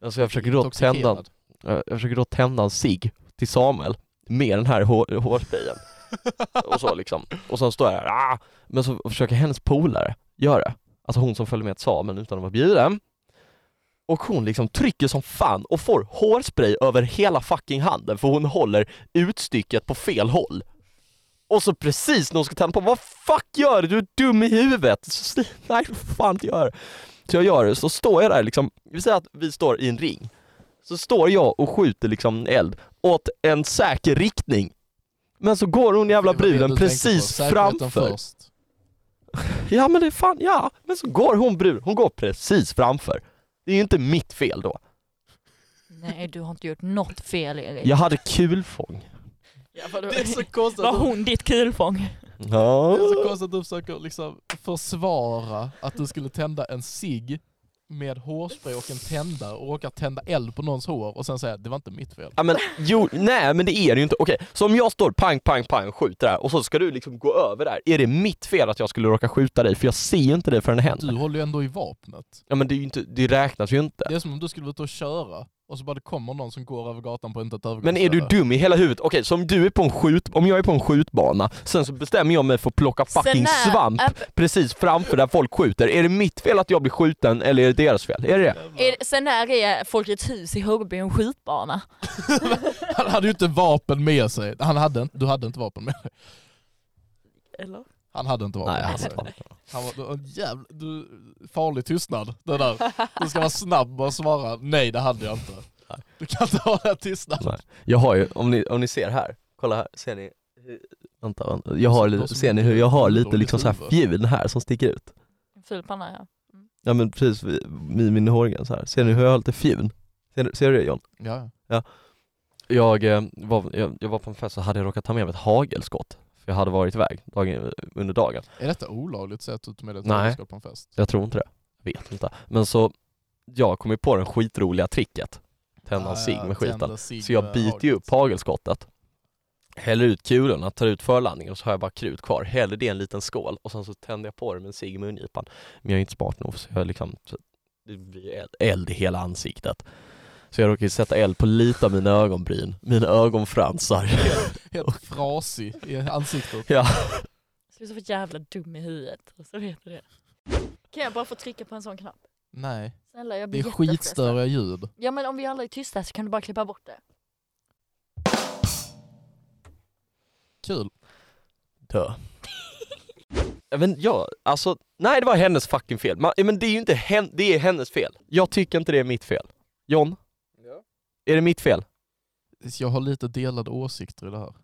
Speaker 1: alltså jag försöker då tända
Speaker 2: Intoxikerad.
Speaker 1: Jag jag försöker då tända en cigg till Samuel med den här hår, hårsprayen. och så liksom. Och sen står jag där, ah! Men så försöker hennes polare göra det. Alltså hon som följer med till Samuel utan att vara bjuden. Och hon liksom trycker som fan och får hårspray över hela fucking handen för hon håller utstycket på fel håll. Och så precis när hon ska tända på, vad fuck gör du? Du är dum i huvudet! Så, nej, du får fan inte göra det. Så jag gör det, så står jag där liksom, vi säger att vi står i en ring så står jag och skjuter liksom eld åt en säker riktning. Men så går hon jävla
Speaker 2: Det var det du
Speaker 1: bruden
Speaker 2: tänkte
Speaker 1: precis
Speaker 2: på. Säkerheten
Speaker 1: framför.
Speaker 2: Först.
Speaker 1: Ja men det är fan, ja. Men så går hon bruden, hon går precis framför. Det är ju inte mitt fel då.
Speaker 3: Nej du har inte gjort något fel Erik.
Speaker 1: Jag hade kulfång.
Speaker 3: Ja, vadå?
Speaker 2: Det är så konstigt
Speaker 3: Var
Speaker 2: att du,
Speaker 3: hon ditt kulfång?
Speaker 1: Ja.
Speaker 2: det är så konstigt att du försöker liksom försvara att du skulle tända en cigg med hårspray och en tändare och råkar tända eld på någons hår och sen säga det var inte mitt fel.
Speaker 1: Ja, men, jo, nej men det är det ju inte. Okej, så om jag står pang, pang, pang, skjuter där och så ska du liksom gå över där. Är det mitt fel att jag skulle råka skjuta dig? För jag ser ju inte dig förrän det
Speaker 2: Du
Speaker 1: händer.
Speaker 2: håller ju ändå i vapnet.
Speaker 1: Ja men det, är ju inte, det räknas ju inte.
Speaker 2: Det är som om du skulle vara ute och köra och så bara det kommer någon som går över gatan på inte ett övergångsställe.
Speaker 1: Men är du dum i hela huvudet? Okej, så om du är på en skjut, om jag är på en skjutbana, sen så bestämmer jag mig för att plocka fucking
Speaker 3: Sen Äh, är-
Speaker 1: svamp
Speaker 3: Äpp,
Speaker 1: precis framför där folk skjuter. Är det mitt fel att jag blir skjuten eller är det deras fel? Är det det?
Speaker 3: är- Sen när är Folkets hus i Högby en skjutbana?
Speaker 2: Han hade ju inte vapen med sig. Han hade, inte- du hade inte vapen med dig.
Speaker 3: Eller?
Speaker 2: Han hade inte vapen
Speaker 1: Nej,
Speaker 2: med
Speaker 1: alltså.
Speaker 2: sig. Han var, du, har en jävla, du, farlig tystnad, det där. Du ska vara snabb och svara nej det hade jag inte.
Speaker 1: Nej.
Speaker 2: Du kan inte ha den här tystnaden.
Speaker 1: Alltså, Jag har ju, om ni, om ni ser här, kolla här, ser ni? hur- Vänta, vänta. Jag har,
Speaker 2: De
Speaker 1: li-
Speaker 2: som-
Speaker 1: ser ni hur jag har lite
Speaker 2: de
Speaker 1: liksom så här
Speaker 2: huvud.
Speaker 1: fjun här som sticker ut?
Speaker 3: En ful panna ja.
Speaker 1: Ja men precis, vid- vid min hårgräns så här. Ser ni hur jag har lite fjun? Ser, du- ser du det John?
Speaker 2: Ja.
Speaker 1: Jag, eh, var, jag, jag var på en fest och hade jag råkat ta med mig ett hagelskott. För jag hade varit iväg dagen, under dagen.
Speaker 2: Är detta olagligt så att du tar med dig ett
Speaker 1: Nej.
Speaker 2: redskap på en fest?
Speaker 1: Jag tror inte det. Jag vet inte. Men så, jag kom ju på det skitroliga tricket. Tända en
Speaker 2: Ja,
Speaker 1: cigg
Speaker 2: ja,
Speaker 1: med skiten.
Speaker 2: tända cigg
Speaker 1: Så jag
Speaker 2: med
Speaker 1: byter ju upp
Speaker 2: hagel.
Speaker 1: hagelskottet. Häller ut kulorna, tar ut förlandningen och så har jag bara krut kvar. Häller det i en liten skål och sen så tänder jag på det med en cigg i mungipan. Men jag är inte smart nog så jag liksom, så det blir eld, eld i hela ansiktet. Så jag råkar ju sätta eld på lite av mina ögonbryn, mina ögonfransar.
Speaker 2: Helt frasig i ansiktet.
Speaker 3: Så du är så jävla dum i huvudet. Och så vet du det. Kan jag bara få trycka på en sån knapp?
Speaker 2: Nej,
Speaker 3: Snälla jag
Speaker 2: det
Speaker 3: blir
Speaker 2: är skitstöriga ljud.
Speaker 3: Ja men om vi alla är tysta så kan du bara klippa bort det.
Speaker 2: Kul.
Speaker 1: Dö. Ja, Men ja, alltså, nej det var hennes fucking fel. Man, ja, men det är ju inte hen, det är hennes fel. Jag tycker inte det är mitt fel. John? Är det mitt fel?
Speaker 2: Jag har lite delade åsikter i det här.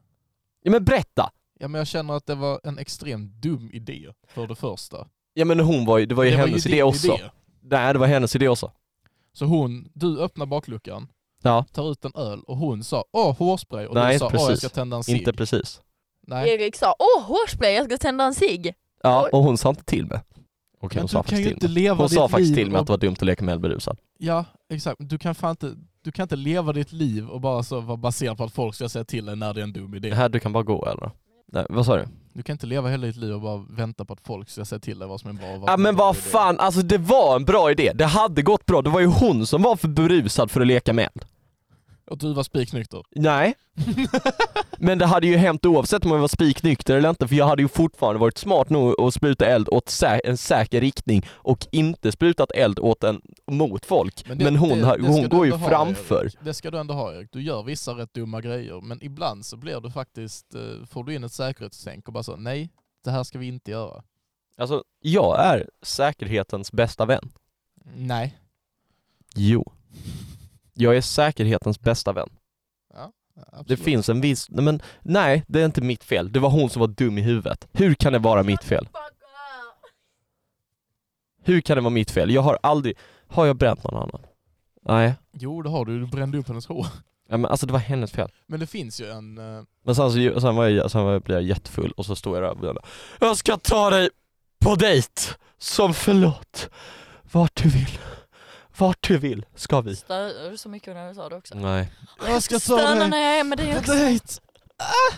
Speaker 1: Ja men berätta!
Speaker 2: Ja, men jag känner att det var en extremt dum idé, för det första.
Speaker 1: Ja men hon var ju, det var ju
Speaker 2: det
Speaker 1: hennes idé
Speaker 2: din
Speaker 1: också.
Speaker 2: idé.
Speaker 1: Nej det var hennes idé också.
Speaker 2: Så hon, du öppnar bakluckan,
Speaker 1: Ja.
Speaker 2: tar ut en öl och hon sa åh hårspray och
Speaker 1: Nej,
Speaker 2: du sa åh jag
Speaker 1: precis.
Speaker 2: ska tända en cigg.
Speaker 1: Inte precis.
Speaker 2: Nej.
Speaker 3: Erik sa åh hårspray jag ska tända en cigg.
Speaker 1: Ja
Speaker 3: Oj.
Speaker 1: och hon sa inte till mig. Okej
Speaker 2: Men
Speaker 1: hon
Speaker 2: du
Speaker 1: sa
Speaker 2: kan
Speaker 1: faktiskt
Speaker 2: ju
Speaker 1: till
Speaker 2: inte
Speaker 1: mig.
Speaker 2: leva
Speaker 1: Hon
Speaker 2: ditt
Speaker 1: sa faktiskt
Speaker 2: liv
Speaker 1: till mig
Speaker 2: och-
Speaker 1: att det var dumt att leka med elberusad.
Speaker 2: Ja, exakt. Du kan fan inte, du kan inte leva ditt liv och bara så vara baserad på att folk ska säga till dig när det är en dum idé.
Speaker 1: Här du kan bara gå eller? Nej vad sa du?
Speaker 2: Du kan inte leva hela ditt liv och bara vänta på att folk ska säga till dig vad som är bra och vad
Speaker 1: Ja
Speaker 2: som är
Speaker 1: men
Speaker 2: dålig
Speaker 1: vad
Speaker 2: idé.
Speaker 1: fan, alltså det var en bra idé. Det hade gått bra. Det var ju hon som var för berusad för att leka med eld.
Speaker 2: Och du var spiknykter.
Speaker 1: Nej. men det hade ju hänt oavsett om jag var spiknykter eller inte för jag hade ju fortfarande varit smart nog att spruta eld åt sä- en säker riktning och inte sprutat eld åt en, mot folk. Men,
Speaker 2: det-
Speaker 1: hon,
Speaker 2: det-
Speaker 1: har-
Speaker 2: det ska
Speaker 1: hon
Speaker 2: du
Speaker 1: går ju
Speaker 2: ändå ha,
Speaker 1: framför.
Speaker 2: Erik. Det ska du ändå ha Erik. Du gör vissa rätt dumma grejer men ibland så blir du faktiskt, eh, får du in ett säkerhetstänk och bara så nej, det här ska vi inte göra.
Speaker 1: Alltså, jag är säkerhetens bästa vän.
Speaker 2: Nej.
Speaker 1: Jo. Jag är säkerhetens bästa vän. Det
Speaker 2: Absolut.
Speaker 1: finns en viss... Nej, men, nej, det är inte mitt fel. Det var hon som var dum i huvudet. Hur kan det vara mitt fel? Hur kan det vara mitt fel? Jag har aldrig... Har jag bränt någon annan? Nej.
Speaker 2: Jo det har du, du brände upp hennes hår.
Speaker 1: Ja, men, alltså det var hennes fel.
Speaker 2: Men det finns ju en... eh,
Speaker 1: Men sen, så, sen, var jag, sen var jag, blev jag jättefull och så stod jag där och bara, Jag ska ta dig på dejt! Som förlåt. Vart du vill. Vart du vill ska vi.
Speaker 3: Stör du så mycket när du sa det också?
Speaker 1: Nej.
Speaker 2: Jag ska ta
Speaker 3: Stönar
Speaker 2: dig
Speaker 3: när jag är med dig
Speaker 2: på
Speaker 3: också.
Speaker 2: dejt!
Speaker 1: Ah!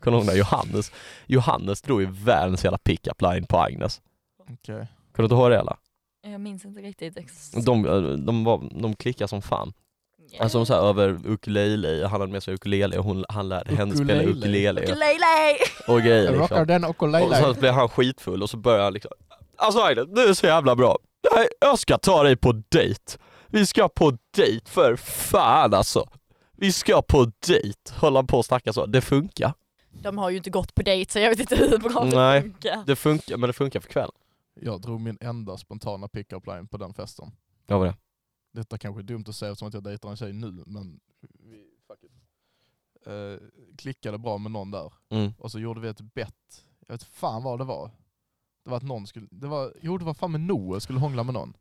Speaker 1: Kommer du ihåg när Johannes, Johannes drog ju världens jävla pick-up line på Agnes?
Speaker 2: Okej.
Speaker 1: Kan du inte höra det alla?
Speaker 3: Jag minns inte riktigt exakt.
Speaker 1: De, eh, de, var, de klickade som fan. Alltså de så här över ukulele, han hade med sig ukulele och hon, han lärde henne spela
Speaker 2: Ukulele.
Speaker 1: ukulele
Speaker 3: Ukulele!
Speaker 1: och grejer
Speaker 2: Jag rockar
Speaker 1: liksom.
Speaker 2: den och kollar
Speaker 1: Och så blev han skitfull och så började han liksom Alltså Agnes, du är så jävla bra. Nej, jag ska ta dig på dejt. Vi ska på dejt för fan alltså. Vi ska på dejt. Håller han på att snacka så. Det funkar.
Speaker 3: De har ju inte gått på dejt så jag vet inte hur bra
Speaker 1: Nej.
Speaker 3: det funkar.
Speaker 1: Det funkar, men det funkar för kvällen.
Speaker 2: Jag drog min enda spontana pick-up line på den festen.
Speaker 1: Ja, vad det?
Speaker 2: Detta kanske är dumt att säga eftersom att jag dejtar en tjej nu, men vi, fuck it. Eh, klickade bra med någon där,
Speaker 1: Mm.
Speaker 2: och så gjorde vi ett bett. Jag vet fan vad det var. Det var att någon skulle, det var, jo det var fan med Noah skulle hångla med någon.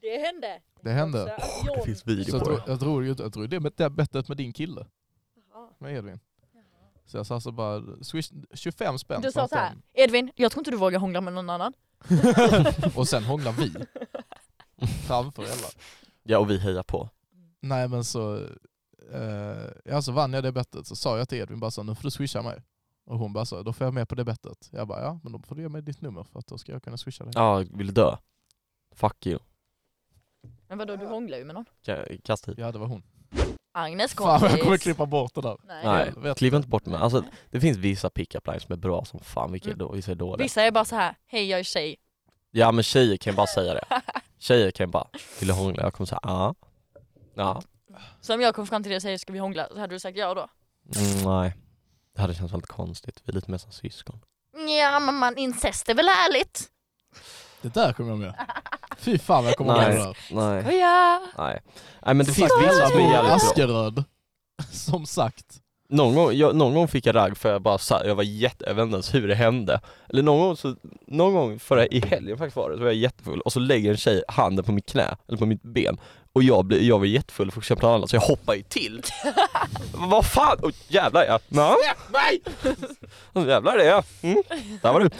Speaker 4: det hände.
Speaker 2: Det hände.
Speaker 4: Så att
Speaker 1: Det
Speaker 4: John-
Speaker 1: finns
Speaker 2: Så
Speaker 1: video
Speaker 2: jag
Speaker 1: på
Speaker 2: tror,
Speaker 1: det.
Speaker 2: jag tror, ju inte- jag tror det är med- det är bettet med din kille,
Speaker 4: Jaha.
Speaker 2: med Edvin. Så jag satsade bara swish, 25 spänn.
Speaker 3: Du
Speaker 2: på
Speaker 3: sa
Speaker 2: att
Speaker 3: så här,
Speaker 2: den-
Speaker 3: Edvin, jag tror inte du vågar hångla med någon annan.
Speaker 2: Och sen hånglar vi. Framför alla.
Speaker 1: Ja och vi hejar på.
Speaker 2: Nej men så, eh, alltså vann jag det bettet så sa jag till Edvin bara så, nu får du swisha mig. Och hon bara så, då får jag med på det bettet. Jag bara, ja men då får du ge mig ditt nummer för att då ska jag kunna swisha dig.
Speaker 1: Ja, vill du dö? Fuck you.
Speaker 3: Men vadå, du hånglar ju med någon.
Speaker 1: Ka- Kasta hit.
Speaker 2: Ja det var hon.
Speaker 3: Agnes
Speaker 2: Fan jag kommer
Speaker 3: kompis.
Speaker 2: klippa bort det där.
Speaker 3: Nej.
Speaker 1: Nej,
Speaker 2: Jag vet
Speaker 1: kliv inte bort mig. Alltså det finns vissa pick-up lines som är bra som fan, vilka är då, vissa är dåliga.
Speaker 3: Vissa är bara så här, hej jag är tjej.
Speaker 1: Ja men tjejer kan ju bara säga det. Tjejer kan ju bara, vill du hångla? Jag kommer säga ja. Ja.
Speaker 3: Så om jag kom fram till dig och säger ska vi hångla, så hade du sagt ja då?
Speaker 1: Mm, nej. Det hade känts väldigt konstigt, vi är lite mer som syskon.
Speaker 3: Ja men man incest är väl ärligt?
Speaker 2: Det där kommer jag med. Fy fan vad jag kommer
Speaker 1: Nej.
Speaker 2: med det där.
Speaker 1: Nej.
Speaker 3: Ja.
Speaker 1: Nej. Nej men det
Speaker 2: Som
Speaker 1: finns
Speaker 2: sagt,
Speaker 1: vissa som är
Speaker 2: Asbjörn
Speaker 1: jävligt bra.
Speaker 2: Askeröd. Som sagt.
Speaker 1: Någon gång, jag, någon gång fick jag ragg för jag bara sa, jag var jätte, jag vet inte ens hur det hände. Eller någon gång, så, någon gång förra, i helgen faktiskt var det, så var jag jättefull och så lägger en tjej handen på mitt knä, eller på mitt ben. Och jag, blir, jag var jättefull och fokuserade på något annat så jag hoppar ju till. Vad fan, oh, jävlar ja. Nå? Nej! jävlar det ja. Mm. Där var du.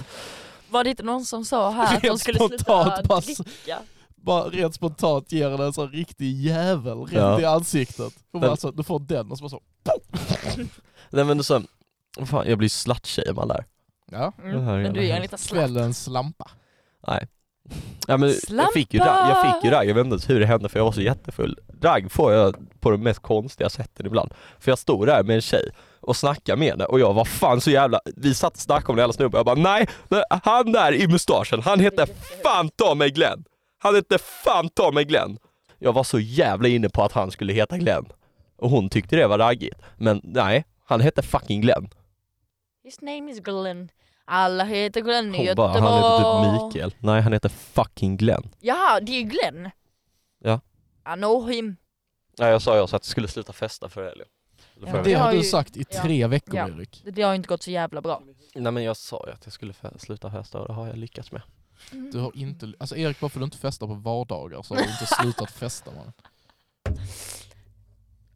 Speaker 3: Var det inte någon som sa här att de
Speaker 2: Rent
Speaker 3: skulle
Speaker 2: spontant
Speaker 3: sluta
Speaker 2: bara,
Speaker 3: dricka?
Speaker 2: bara rent spontant ger den en sån riktig jävel rätt
Speaker 1: Ja.
Speaker 2: i ansiktet. Hon
Speaker 1: Den-
Speaker 2: bara så, du får den och så bara så.
Speaker 1: Nej men så, fan jag blir slutshamead där.
Speaker 2: Ja.
Speaker 1: Det
Speaker 3: Mm.
Speaker 1: här är
Speaker 3: Men du
Speaker 1: jävla
Speaker 3: är en liten slapp.
Speaker 2: Kvällens slampa.
Speaker 1: Nej. Ja, men jag fick ju
Speaker 3: Slampa!
Speaker 1: ragg, jag fick ju ragg, jag vet inte ens hur det hände för jag var så jättefull. Ragg får jag på de mest konstiga sätten ibland. För jag stod där med en tjej och snackade med henne och jag var fan så jävla, vi satt och snackade om den jävla snubben jag bara nej, nej, han där i mustaschen, han hette fan ta mig Glenn. Han hette fan ta mig Glenn. Jag var så jävla inne på att han skulle heta Glenn. Och hon tyckte det var raggigt. Men nej, han hette fucking Glenn.
Speaker 3: His name is Glenn. Alla heter Glenn i
Speaker 1: Hon
Speaker 3: Göteborg.
Speaker 1: bara, han heter typ Mikael. Nej, han heter fucking Glenn.
Speaker 3: Ja, det är ju Glenn.
Speaker 1: Ja.
Speaker 3: I know him.
Speaker 1: Nej jag sa ju också att jag skulle sluta festa för helgen. Eller
Speaker 3: Ja.
Speaker 1: förra
Speaker 2: Det
Speaker 1: veckan.
Speaker 3: har
Speaker 2: har du
Speaker 3: ju-
Speaker 2: sagt i
Speaker 3: ja.
Speaker 2: tre veckor
Speaker 3: Ja.
Speaker 2: Erik.
Speaker 3: Det har ju inte gått så jävla bra.
Speaker 1: Nej men jag sa ju att jag skulle fe- sluta festa och det har jag lyckats med. Mm.
Speaker 2: Du har inte, alltså Erik varför du inte festar på vardagar så har du inte slutat festa man.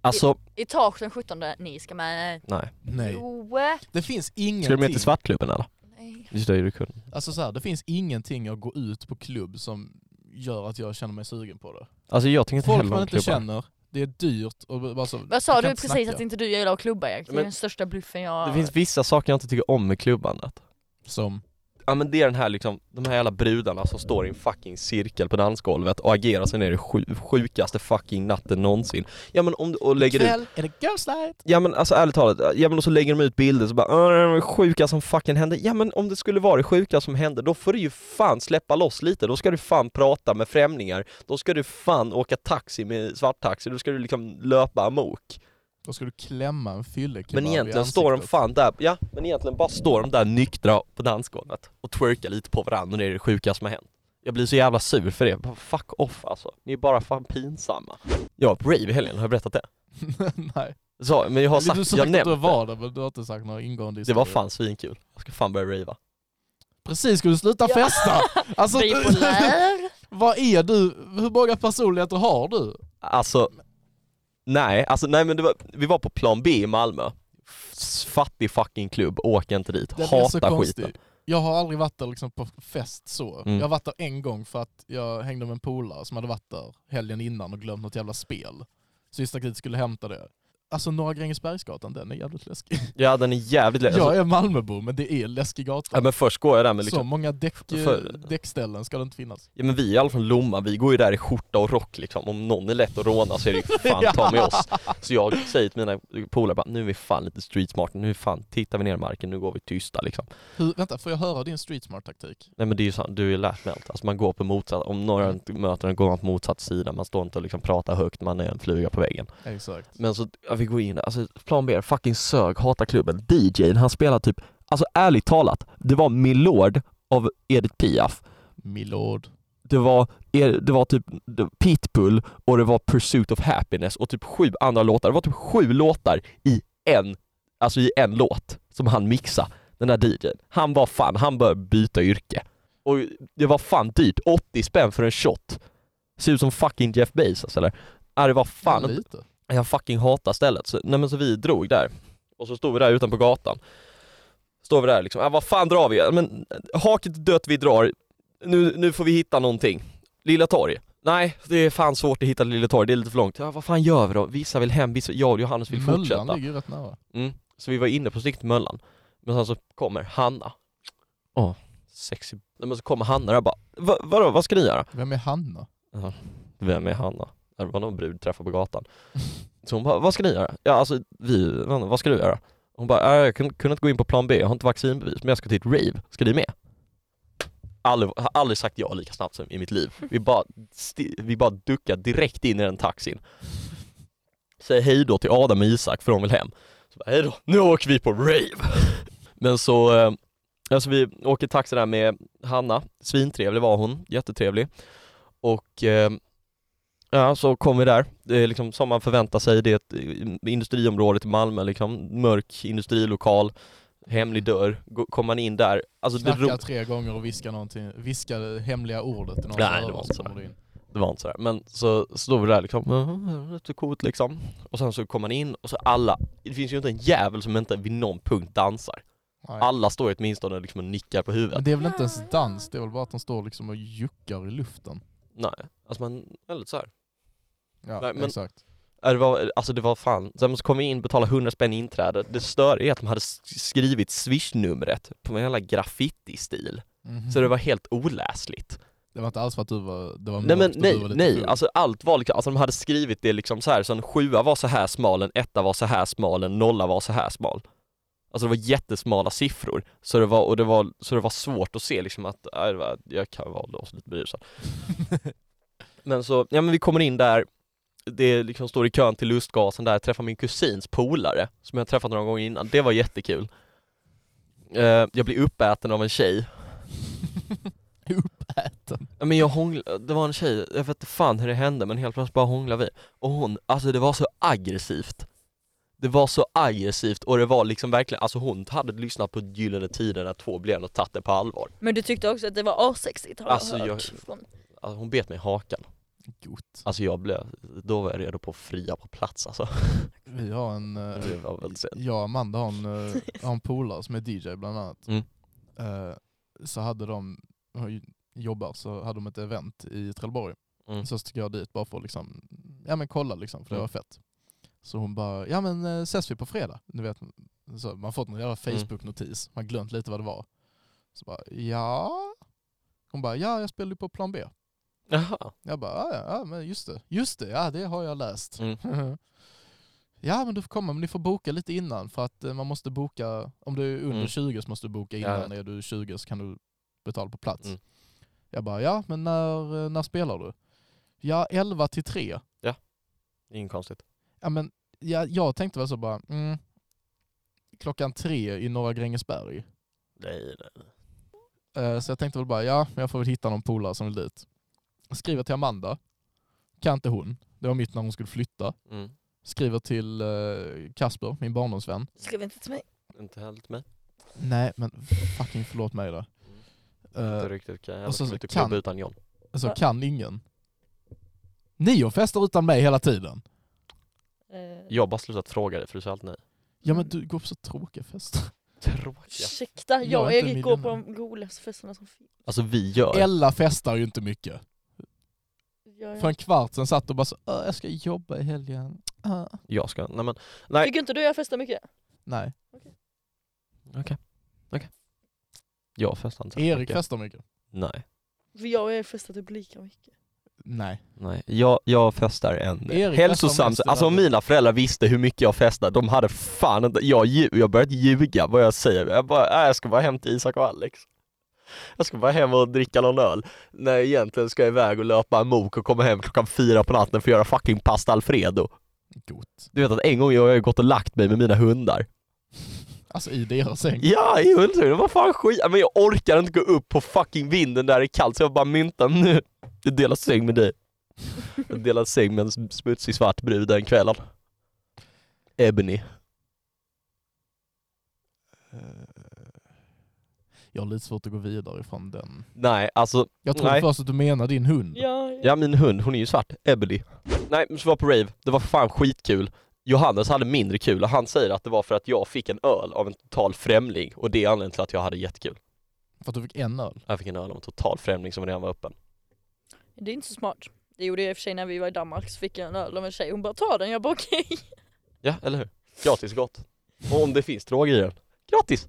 Speaker 1: Alltså,
Speaker 3: Etage den 17, ni ska med.
Speaker 1: nej.
Speaker 2: Nej.
Speaker 3: Jo.
Speaker 2: Det finns
Speaker 1: Skulle du med till
Speaker 2: ingenting,
Speaker 1: Svartklubben eller?
Speaker 3: Nej.
Speaker 1: Just det, du kunde.
Speaker 2: alltså så här, det finns ingenting att gå ut på klubb som gör att jag känner mig sugen på det.
Speaker 1: Alltså jag tänker inte
Speaker 2: Folk
Speaker 1: heller
Speaker 2: man
Speaker 1: om
Speaker 2: inte
Speaker 1: klubbar.
Speaker 2: känner, det är dyrt och bara så,
Speaker 3: Vad sa
Speaker 2: jag
Speaker 3: du
Speaker 2: kan
Speaker 3: precis
Speaker 2: inte
Speaker 3: att
Speaker 2: snacka.
Speaker 3: inte du gillar att klubba Erik? Det är
Speaker 1: Men-
Speaker 3: den största bluffen jag...
Speaker 1: Det finns vissa saker jag inte tycker om med klubbandet.
Speaker 2: Som,
Speaker 1: Ja men det är den här liksom, de här jävla brudarna som står i en fucking cirkel på dansgolvet och agerar sig ner i sju, sjukaste fucking natten någonsin. Ja men om du, och lägger ut
Speaker 2: kväll är det ghost night!
Speaker 1: Ja men alltså ärligt talat, ja men och så lägger de ut bilder så bara "Åh, det var det sjuka som fucking hände. Ja men om det skulle vara det sjuka som hände, då får du ju fan släppa loss lite. Då ska du fan prata med främlingar. Då ska du fan åka taxi med svarttaxi. Då ska du liksom löpa amok.
Speaker 2: Då ska du klämma en fyllekebab
Speaker 1: Men
Speaker 2: i
Speaker 1: egentligen står de
Speaker 2: ansiktet.
Speaker 1: fan där, ja men egentligen bara står de där nyktra på dansgolvet och twerkar lite på varandra och det är det sjuka som har hänt. Jag blir så jävla sur för det. Bara, Fuck off alltså. Ni är bara fan pinsamma. Jag var på rave i helgen, har jag berättat det?
Speaker 2: Nej.
Speaker 1: Så, men jag har
Speaker 2: du
Speaker 1: sagt,
Speaker 2: sa
Speaker 1: jag
Speaker 2: att
Speaker 1: nämnt
Speaker 2: du var där men du har inte sagt några ingående
Speaker 1: Det var
Speaker 2: historier.
Speaker 1: fan svinkul. Jag ska fan börja rava.
Speaker 2: Precis, ska du sluta
Speaker 3: Ja.
Speaker 2: festa? Alltså,
Speaker 3: Bipolär.
Speaker 2: vad är du? Hur många personligheter har du?
Speaker 1: Alltså, nej, alltså nej men det var, vi var på plan B i Malmö. F- Fattig fucking klubb, åk inte dit.
Speaker 2: Den är så
Speaker 1: Hata
Speaker 2: konstig.
Speaker 1: skiten.
Speaker 2: Jag har aldrig varit där liksom på fest så.
Speaker 1: Mm.
Speaker 2: Jag har varit där en gång för att jag hängde med en polare som hade varit där helgen innan och glömt något jävla spel. Så vi stack dit och skulle hämta det. Alltså Norra Grängesbergsgatan, den är jävligt läskig.
Speaker 1: Ja den är jävligt lätt. Alltså,
Speaker 2: Jag är Malmöbo, men det är läskig gata.
Speaker 1: ja, men först går jag där med
Speaker 2: Så
Speaker 1: liksom,
Speaker 2: många däck,
Speaker 1: För-
Speaker 2: däckställen ska det inte finnas.
Speaker 1: ja men vi är i alla fall Lomma, vi går ju där i skjorta och rock liksom. Om någon är lätt att råna så är det ju fan ta med oss. Så jag säger till mina polare bara, nu är vi fan lite street smart, nu fan tittar vi ner i marken, nu går vi tysta liksom.
Speaker 2: Hur, vänta, får jag höra din street smart taktik?
Speaker 1: Nej men det är ju sant, du är lärt med allt. Alltså man går på motsatt, om några
Speaker 2: Mm.
Speaker 1: inte möter en går man på motsatt sida, man står inte och liksom pratar högt, man är en fluga på väggen.
Speaker 2: Exakt.
Speaker 1: Men så, ja, vi går in där, alltså plan B, fucking sög, hatar klubben. DJn, han spelar typ, alltså ärligt talat, det var Milord av Edith Piaf.
Speaker 2: Milord.
Speaker 1: Det var, er- det var typ det- Pitbull och det var Pursuit of Happiness och typ sju andra låtar. Det var typ sju låtar i en, alltså i en låt som han mixade, den där DJn. Han var fan, han började byta yrke. Och det var fan dyrt, 80 spänn för en shot. Ser ut som fucking Jeff Bezos eller? Äh, det var fan inte
Speaker 2: Lite.
Speaker 1: jag fucking hatar stället. Så, nej men så vi drog där. Och så stod vi där ute på gatan. Står vi där liksom, ah, vad fan drar vi? Ja, Men äh, haket är dött, vi drar. Nu, nu får vi hitta någonting. Lilla torg. Nej, det är fan svårt att hitta Lilla torg, det är lite för långt. Ja, vad fan gör vi då? Vissa vill hem, vissa, jag och Johannes vill fortsätta.
Speaker 2: Möllan ligger ju rätt nära.
Speaker 1: Mm. Så vi var inne på riktigt Möllan. Men sen så kommer Hanna. Åh, sexy. Nej, men så kommer Hanna där och bara, "Va- vadå, vad ska ni göra?
Speaker 2: Vem är Hanna?
Speaker 1: Alltså, Vem är Hanna? Det var någon brud träffade på gatan. Så hon bara, vad ska ni göra? Ja alltså vi, vad ska du göra? Hon bara, "Äh, jag kun- kunde inte gå in på plan B, jag har inte vaccinbevis men jag ska till ett rave, ska ni med? Aldrig, har aldrig sagt ja lika snabbt som i mitt liv. Vi bara, sti- vi bara duckar direkt in i den taxin. Säger hej då till Adam och Isak för de vill hem. Så bara, hej då, nu åker vi på rave! Men så, eh, alltså vi åker taxi där med Hanna, svintrevlig var hon, jättetrevlig. Och eh, Ja, så kom vi där. Det är liksom som man förväntar sig. Det är ett eh, industriområde i Malmö liksom. Mörk industrilokal, hemlig dörr. Gå- Kommer man in där, alltså det, ro-
Speaker 2: Knackar tre gånger och viskar någonting, viskar det hemliga ordet i någons
Speaker 1: Nej, det
Speaker 2: öron
Speaker 1: var
Speaker 2: så
Speaker 1: inte så.
Speaker 2: kommer du in.
Speaker 1: det var inte sådär. Men så står vi där liksom, "Mhm, lite coolt liksom. Och sen så kommer man in och så alla, det finns ju inte en jävel som inte vid någon punkt dansar.
Speaker 2: Nej. Mm.
Speaker 1: Alla står ju åtminstone liksom och nickar på huvudet.
Speaker 2: Men det är väl inte ens dans, det är väl bara att de står liksom och juckar i luften.
Speaker 1: Nej, alltså man, är lite såhär.
Speaker 2: Ja,
Speaker 1: Nej, men-
Speaker 2: exakt.
Speaker 1: Ja, Det var, alltså det var fan, sen så kom vi in, betalade 100 spänn i inträde. Det störiga är att de hade s- skrivit swish-numret på en jävla graffiti-stil.
Speaker 2: Mhm.
Speaker 1: Så det var helt oläsligt.
Speaker 2: Det var inte alls för att du var, det var
Speaker 1: Nej men
Speaker 2: mörkt och du
Speaker 1: nej,
Speaker 2: var lite
Speaker 1: nej,
Speaker 2: full.
Speaker 1: alltså allt var liksom, alltså de hade skrivit det liksom så här, så en sjua var så här smal, en etta var så här smal, en nolla var så här smal. Alltså det var jättesmala siffror, så det var, och det var, så det var svårt att se liksom att, nej, det var, jag kan vara då lite berusad. Men så, ja men vi kommer in där, det liksom står i kön till lustgasen där, träffar min kusins polare, som jag träffat några gånger innan, det var jättekul. Eh, jag blir uppäten av en tjej,
Speaker 2: Uppäten.
Speaker 1: Ja, Men jag hånglade, det var en tjej, jag vet inte fan hur det hände men helt plötsligt bara hånglade vi Och hon, alltså det var så aggressivt Det var så aggressivt och det var liksom verkligen, alltså hon hade lyssnat på Gyllene Tider när två blev och tagit det på allvar
Speaker 3: Men du tyckte också att det var asexigt har
Speaker 1: Alltså,
Speaker 3: jag
Speaker 1: jag-
Speaker 3: hört. Från...
Speaker 1: alltså, Hon bet mig i hakan,
Speaker 2: Gott.
Speaker 1: alltså jag blev, då var jag redo på att fria på plats alltså
Speaker 2: Vi har en... eh,
Speaker 1: Det var väl synd.
Speaker 2: jag och Amanda har en, eh, har en polare som är DJ bland annat.
Speaker 1: Mm.
Speaker 2: Eh, så hade de, har ju- jobbar, så hade de ett event i Trelleborg.
Speaker 1: Mm.
Speaker 2: Så stack jag dit bara för att liksom, ja men kolla liksom, för det var fett. Så hon bara, ja men eh, ses vi på fredag? Du vet, så man har fått någon jävla
Speaker 1: Mm.
Speaker 2: Facebook-notis, man har glömt lite vad det var. Så bara, ja? Hon bara, ja jag spelar ju på plan B.
Speaker 1: Jaha,
Speaker 2: Jag bara, "Ah, ja, ja, ja men just det, just det, ja det har jag läst.
Speaker 1: Mm.
Speaker 2: ja men du får komma, men ni får boka lite innan för att eh, man måste boka, om du är under
Speaker 1: Mm.
Speaker 2: 20 så måste du boka
Speaker 1: Ja, jag
Speaker 2: innan, är du 20 så kan du betala på plats.
Speaker 1: Mm.
Speaker 2: Jag bara, ja men när, eh, när spelar du? Ja 11 till 3.
Speaker 1: inget konstigt
Speaker 2: Ja men ja, jag tänkte väl så bara, mm, klockan tre i Norra Grängesberg.
Speaker 1: Nej nej
Speaker 2: Eh, Så jag tänkte väl bara, ja, jag får väl hitta någon polare som vill dit. Skriver till Amanda. Kan inte hon. Det var mitt när hon skulle flytta.
Speaker 1: mm.
Speaker 2: Skriver till eh, Kasper, min barndomsvän.
Speaker 3: Skrev inte till mig.
Speaker 1: Inte helt mig,
Speaker 2: Nej, men fucking förlåt mig då.
Speaker 1: Mm. inte
Speaker 2: Eh,
Speaker 1: riktigt kan jag
Speaker 2: och så
Speaker 1: kommer inte
Speaker 2: kan-
Speaker 1: klubba utan John
Speaker 2: alltså kan ingen. Ni och festar utan mig hela tiden. Eh,
Speaker 1: Jag har bara slutat fråga dig för du sa alltid nej
Speaker 2: Ja
Speaker 1: Mm.
Speaker 2: men du går på så tråkiga fester.
Speaker 1: Tråkiga
Speaker 3: Ursäkta, jag
Speaker 2: Jag
Speaker 3: och
Speaker 2: är inte
Speaker 3: Erik går på
Speaker 2: miljonär.
Speaker 3: de roligaste festerna som finns.
Speaker 1: Alltså vi gör
Speaker 2: Ella festar ju inte mycket.
Speaker 3: Jag
Speaker 2: För en kvart sen satt och bara så, "Äh, jag ska jobba i helgen. Äh.
Speaker 1: Jag ska, nej men Nej.
Speaker 3: Tycker inte du jag festar mycket?
Speaker 2: Nej.
Speaker 1: jag festar inte så
Speaker 2: Erik
Speaker 1: mycket.
Speaker 2: festar mycket.
Speaker 1: Nej
Speaker 3: För jag och Erik festar typ lika mycket.
Speaker 2: Nej.
Speaker 1: Nej, jag, jag festar en
Speaker 2: Erik festar
Speaker 1: hälsosam...
Speaker 2: mest i
Speaker 1: Alltså om
Speaker 2: världen.
Speaker 1: mina föräldrar visste hur mycket jag festar, de hade fan inte... Jag, lju- jag började ljuga vad jag säger. Jag bara, "Nej, jag ska bara hem till Isak och Alex. Jag ska bara hem och dricka någon öl. När jag egentligen ska jag iväg och löpa amok och komma hem klockan fyra på natten för att göra fucking pasta alfredo.
Speaker 2: Gott.
Speaker 1: Du vet att en gång jag har jag gått och lagt mig med mina hundar.
Speaker 2: Alltså i deras säng.
Speaker 1: Ja, i Hultsfred, det var fan skit. Men jag orkar inte gå upp på fucking vinden där det är kallt så jag bara myntar nu. Jag delar säng med dig. Jag delar säng med en smutsig svart brud den kvällen. Ebony.
Speaker 2: Eh, Jag har lite svårt att gå vidare ifrån den.
Speaker 1: Nej, alltså,
Speaker 2: Jag trodde
Speaker 1: Nej.
Speaker 2: först att du menar din hund.
Speaker 3: Ja,
Speaker 1: ja min hund, hon är ju svart, Ebony. Nej, men så var på rave, det var fan skitkul. Johannes hade mindre kul och han säger att det var för att jag fick en öl av en total främling och det är anledningen till att jag hade jättekul.
Speaker 2: För att du fick en öl.
Speaker 1: Jag fick en öl av en total främling som redan var öppen.
Speaker 3: Det är inte så smart. Det gjorde jag i och för sig när vi var i Danmark så fick jag en öl av en tjej, hon bara ta den, jag bara okej.
Speaker 1: Ja, eller hur? Gratis gott. Och om det finns droger i den, gratis!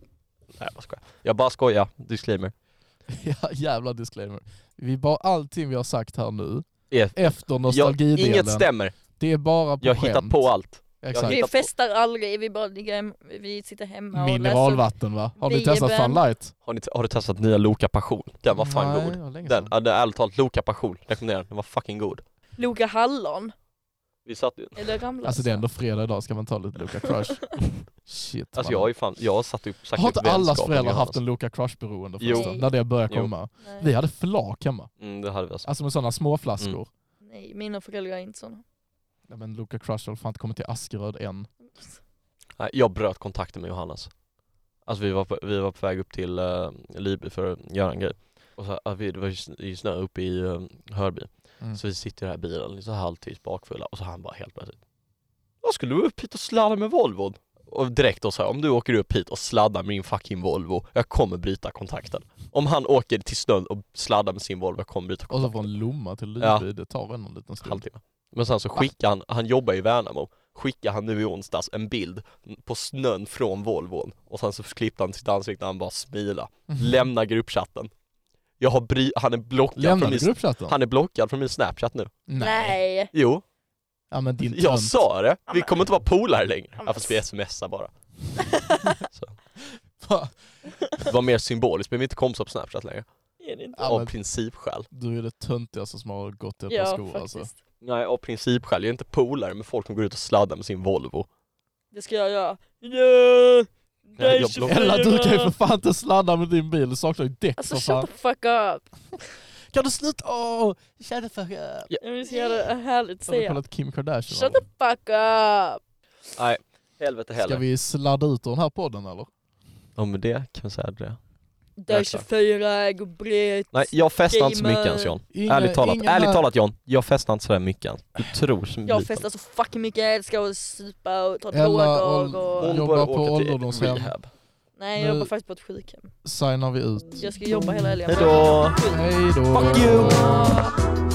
Speaker 1: Nej, jag bara skojar. Jag bara skojar, disclaimer.
Speaker 2: ja, jävla disclaimer. Vi bara, allting vi har sagt här nu,
Speaker 1: Är-
Speaker 2: efter
Speaker 1: Jag,
Speaker 2: nostalgidelen,
Speaker 1: inget stämmer,
Speaker 2: det är bara på
Speaker 1: jag
Speaker 2: skämt.
Speaker 1: hittar på allt.
Speaker 2: Exakt.
Speaker 1: hittar
Speaker 3: Vi
Speaker 1: på-
Speaker 3: festar aldrig, vi bara ligger hem, vi sitter hemma och läser.
Speaker 2: Mineralvatten va? Har du
Speaker 3: Bieber.
Speaker 2: testat Fun Light?
Speaker 1: Har, ni, har du testat nya Loka Passion? Den var fan
Speaker 2: Nej,
Speaker 1: god.
Speaker 2: det var länge
Speaker 1: Den,
Speaker 2: sedan.
Speaker 1: ja, den, ärligt talat, Loka Passion, rekommenderar den. Den var fucking god.
Speaker 3: Loka hallon,
Speaker 1: Vi satt ju...
Speaker 3: eller ramlösa.
Speaker 2: Alltså det är ändå fredag idag, ska man ta lite Luca Crush?
Speaker 1: Alltså
Speaker 2: Shit mannen.
Speaker 1: jag har ju fan, jag har satt upp, sagt
Speaker 2: Har
Speaker 1: upp
Speaker 2: inte allas
Speaker 1: vänskapen med
Speaker 2: föräldrar haft
Speaker 1: Johannes.
Speaker 2: en Luca Crush-beroende
Speaker 1: Jo.
Speaker 2: förresten? När det började
Speaker 1: Jo.
Speaker 2: komma.
Speaker 3: Nej,
Speaker 2: Vi hade flak hemma.
Speaker 1: Mm, det hade vi alltså.
Speaker 2: Alltså med sådana små flaskor.
Speaker 1: Mm.
Speaker 3: nej mina föräldrar är inte sådana.
Speaker 2: Ja, men Luca Crush har fan inte kommit till Askeröd än.
Speaker 1: Nej, jag bröt kontakten med Johannes. Alltså vi var på, vi var på väg upp till uh, Liby för att göra en grej. Och så, ja, vi, det var ju snö- ju snö uppe i eh, Hörby.
Speaker 2: Mm.
Speaker 1: Så vi sitter här i bilen, lite halvtids bakfulla och så han bara helt plötsligt Jag skulle du upp hit och sladda med Volvon? Och direkt då så här, om du åker upp hit och sladdar med din fucking Volvo, jag kommer bryta kontakten. Om han åker till snön och sladdar med sin Volvo, jag kommer bryta
Speaker 2: Och så
Speaker 1: kontakten.
Speaker 2: från Lomma till Lyby,
Speaker 1: Ja.
Speaker 2: det tar ändå en liten stund.
Speaker 1: Halvtimme. Men sen så skickar han, han jobbar i Värnamo, skickar han nu i onsdags en bild på snön från Volvon och sen så klippte han sitt ansikte och han bara smila. Lämna gruppchatten. Jag har bry- han är blockad
Speaker 2: Lämnar
Speaker 1: från
Speaker 2: du
Speaker 1: min,
Speaker 2: gruppchatten?
Speaker 1: han är blockad från min snapchat nu.
Speaker 3: Nej!
Speaker 1: Jo.
Speaker 2: Ja men din
Speaker 1: Jag
Speaker 2: tönt.
Speaker 1: sa det! Vi
Speaker 3: men-
Speaker 1: kommer inte vara polare längre.
Speaker 3: men-
Speaker 1: Ja, fast vi smsar bara.
Speaker 2: Va?
Speaker 1: Det var mer symboliskt, men vi är inte kompisar på Snapchat längre.
Speaker 3: Är det inte?
Speaker 2: Ja,
Speaker 1: Av
Speaker 2: men-
Speaker 1: principskäl.
Speaker 2: Du är det töntigaste som har gått i ett par
Speaker 3: Ja
Speaker 2: skor
Speaker 3: faktiskt.
Speaker 2: alltså.
Speaker 1: Nej, av principskäl. Jag är inte polare med folk som går ut och sladdar med sin Volvo.
Speaker 3: Det ska jag göra. Ja! Det
Speaker 1: Nej,
Speaker 3: är
Speaker 1: jag block-
Speaker 3: 24.
Speaker 2: Eller du kan ju för fan inte sladda med din bil, du saknar ju däck
Speaker 3: Alltså
Speaker 2: för fan.
Speaker 3: shut the fuck up!
Speaker 2: Kan du sluta? Åh! Shut the fuck up!
Speaker 3: Det är så jävla härligt att
Speaker 2: Har du
Speaker 3: säga.
Speaker 2: kollat Kim Kardashian?
Speaker 3: Shut the fuck up!
Speaker 1: Helvete
Speaker 2: Ska
Speaker 1: heller.
Speaker 2: vi sladda ut ur den här podden eller?
Speaker 1: Ja men det kan vi säga det.
Speaker 3: Det är 24, gå brett.
Speaker 1: Nej, jag festar inte så
Speaker 3: Gamer.
Speaker 1: mycket ens John.
Speaker 2: Ingen,
Speaker 1: Ärligt talat,
Speaker 2: ingen
Speaker 1: ärligt
Speaker 2: här-
Speaker 1: talat John. Jag festar inte sådär mycket ens. Du tror som
Speaker 3: Jag
Speaker 1: liten.
Speaker 3: festar så fucking mycket, jag älskar att supa och ta
Speaker 2: Ella
Speaker 3: droger
Speaker 2: och-
Speaker 3: och...
Speaker 1: Hon
Speaker 2: Jobbar
Speaker 1: bör
Speaker 2: på
Speaker 1: åka till
Speaker 2: ålderdomshem.
Speaker 1: rehab.
Speaker 3: Nej
Speaker 2: Nu-
Speaker 3: jag jobbar faktiskt på ett sjukhem.
Speaker 2: Signar vi ut.
Speaker 3: Jag ska jobba hela helgen.
Speaker 1: Hejdå!
Speaker 2: Hej då!
Speaker 1: Fuck you!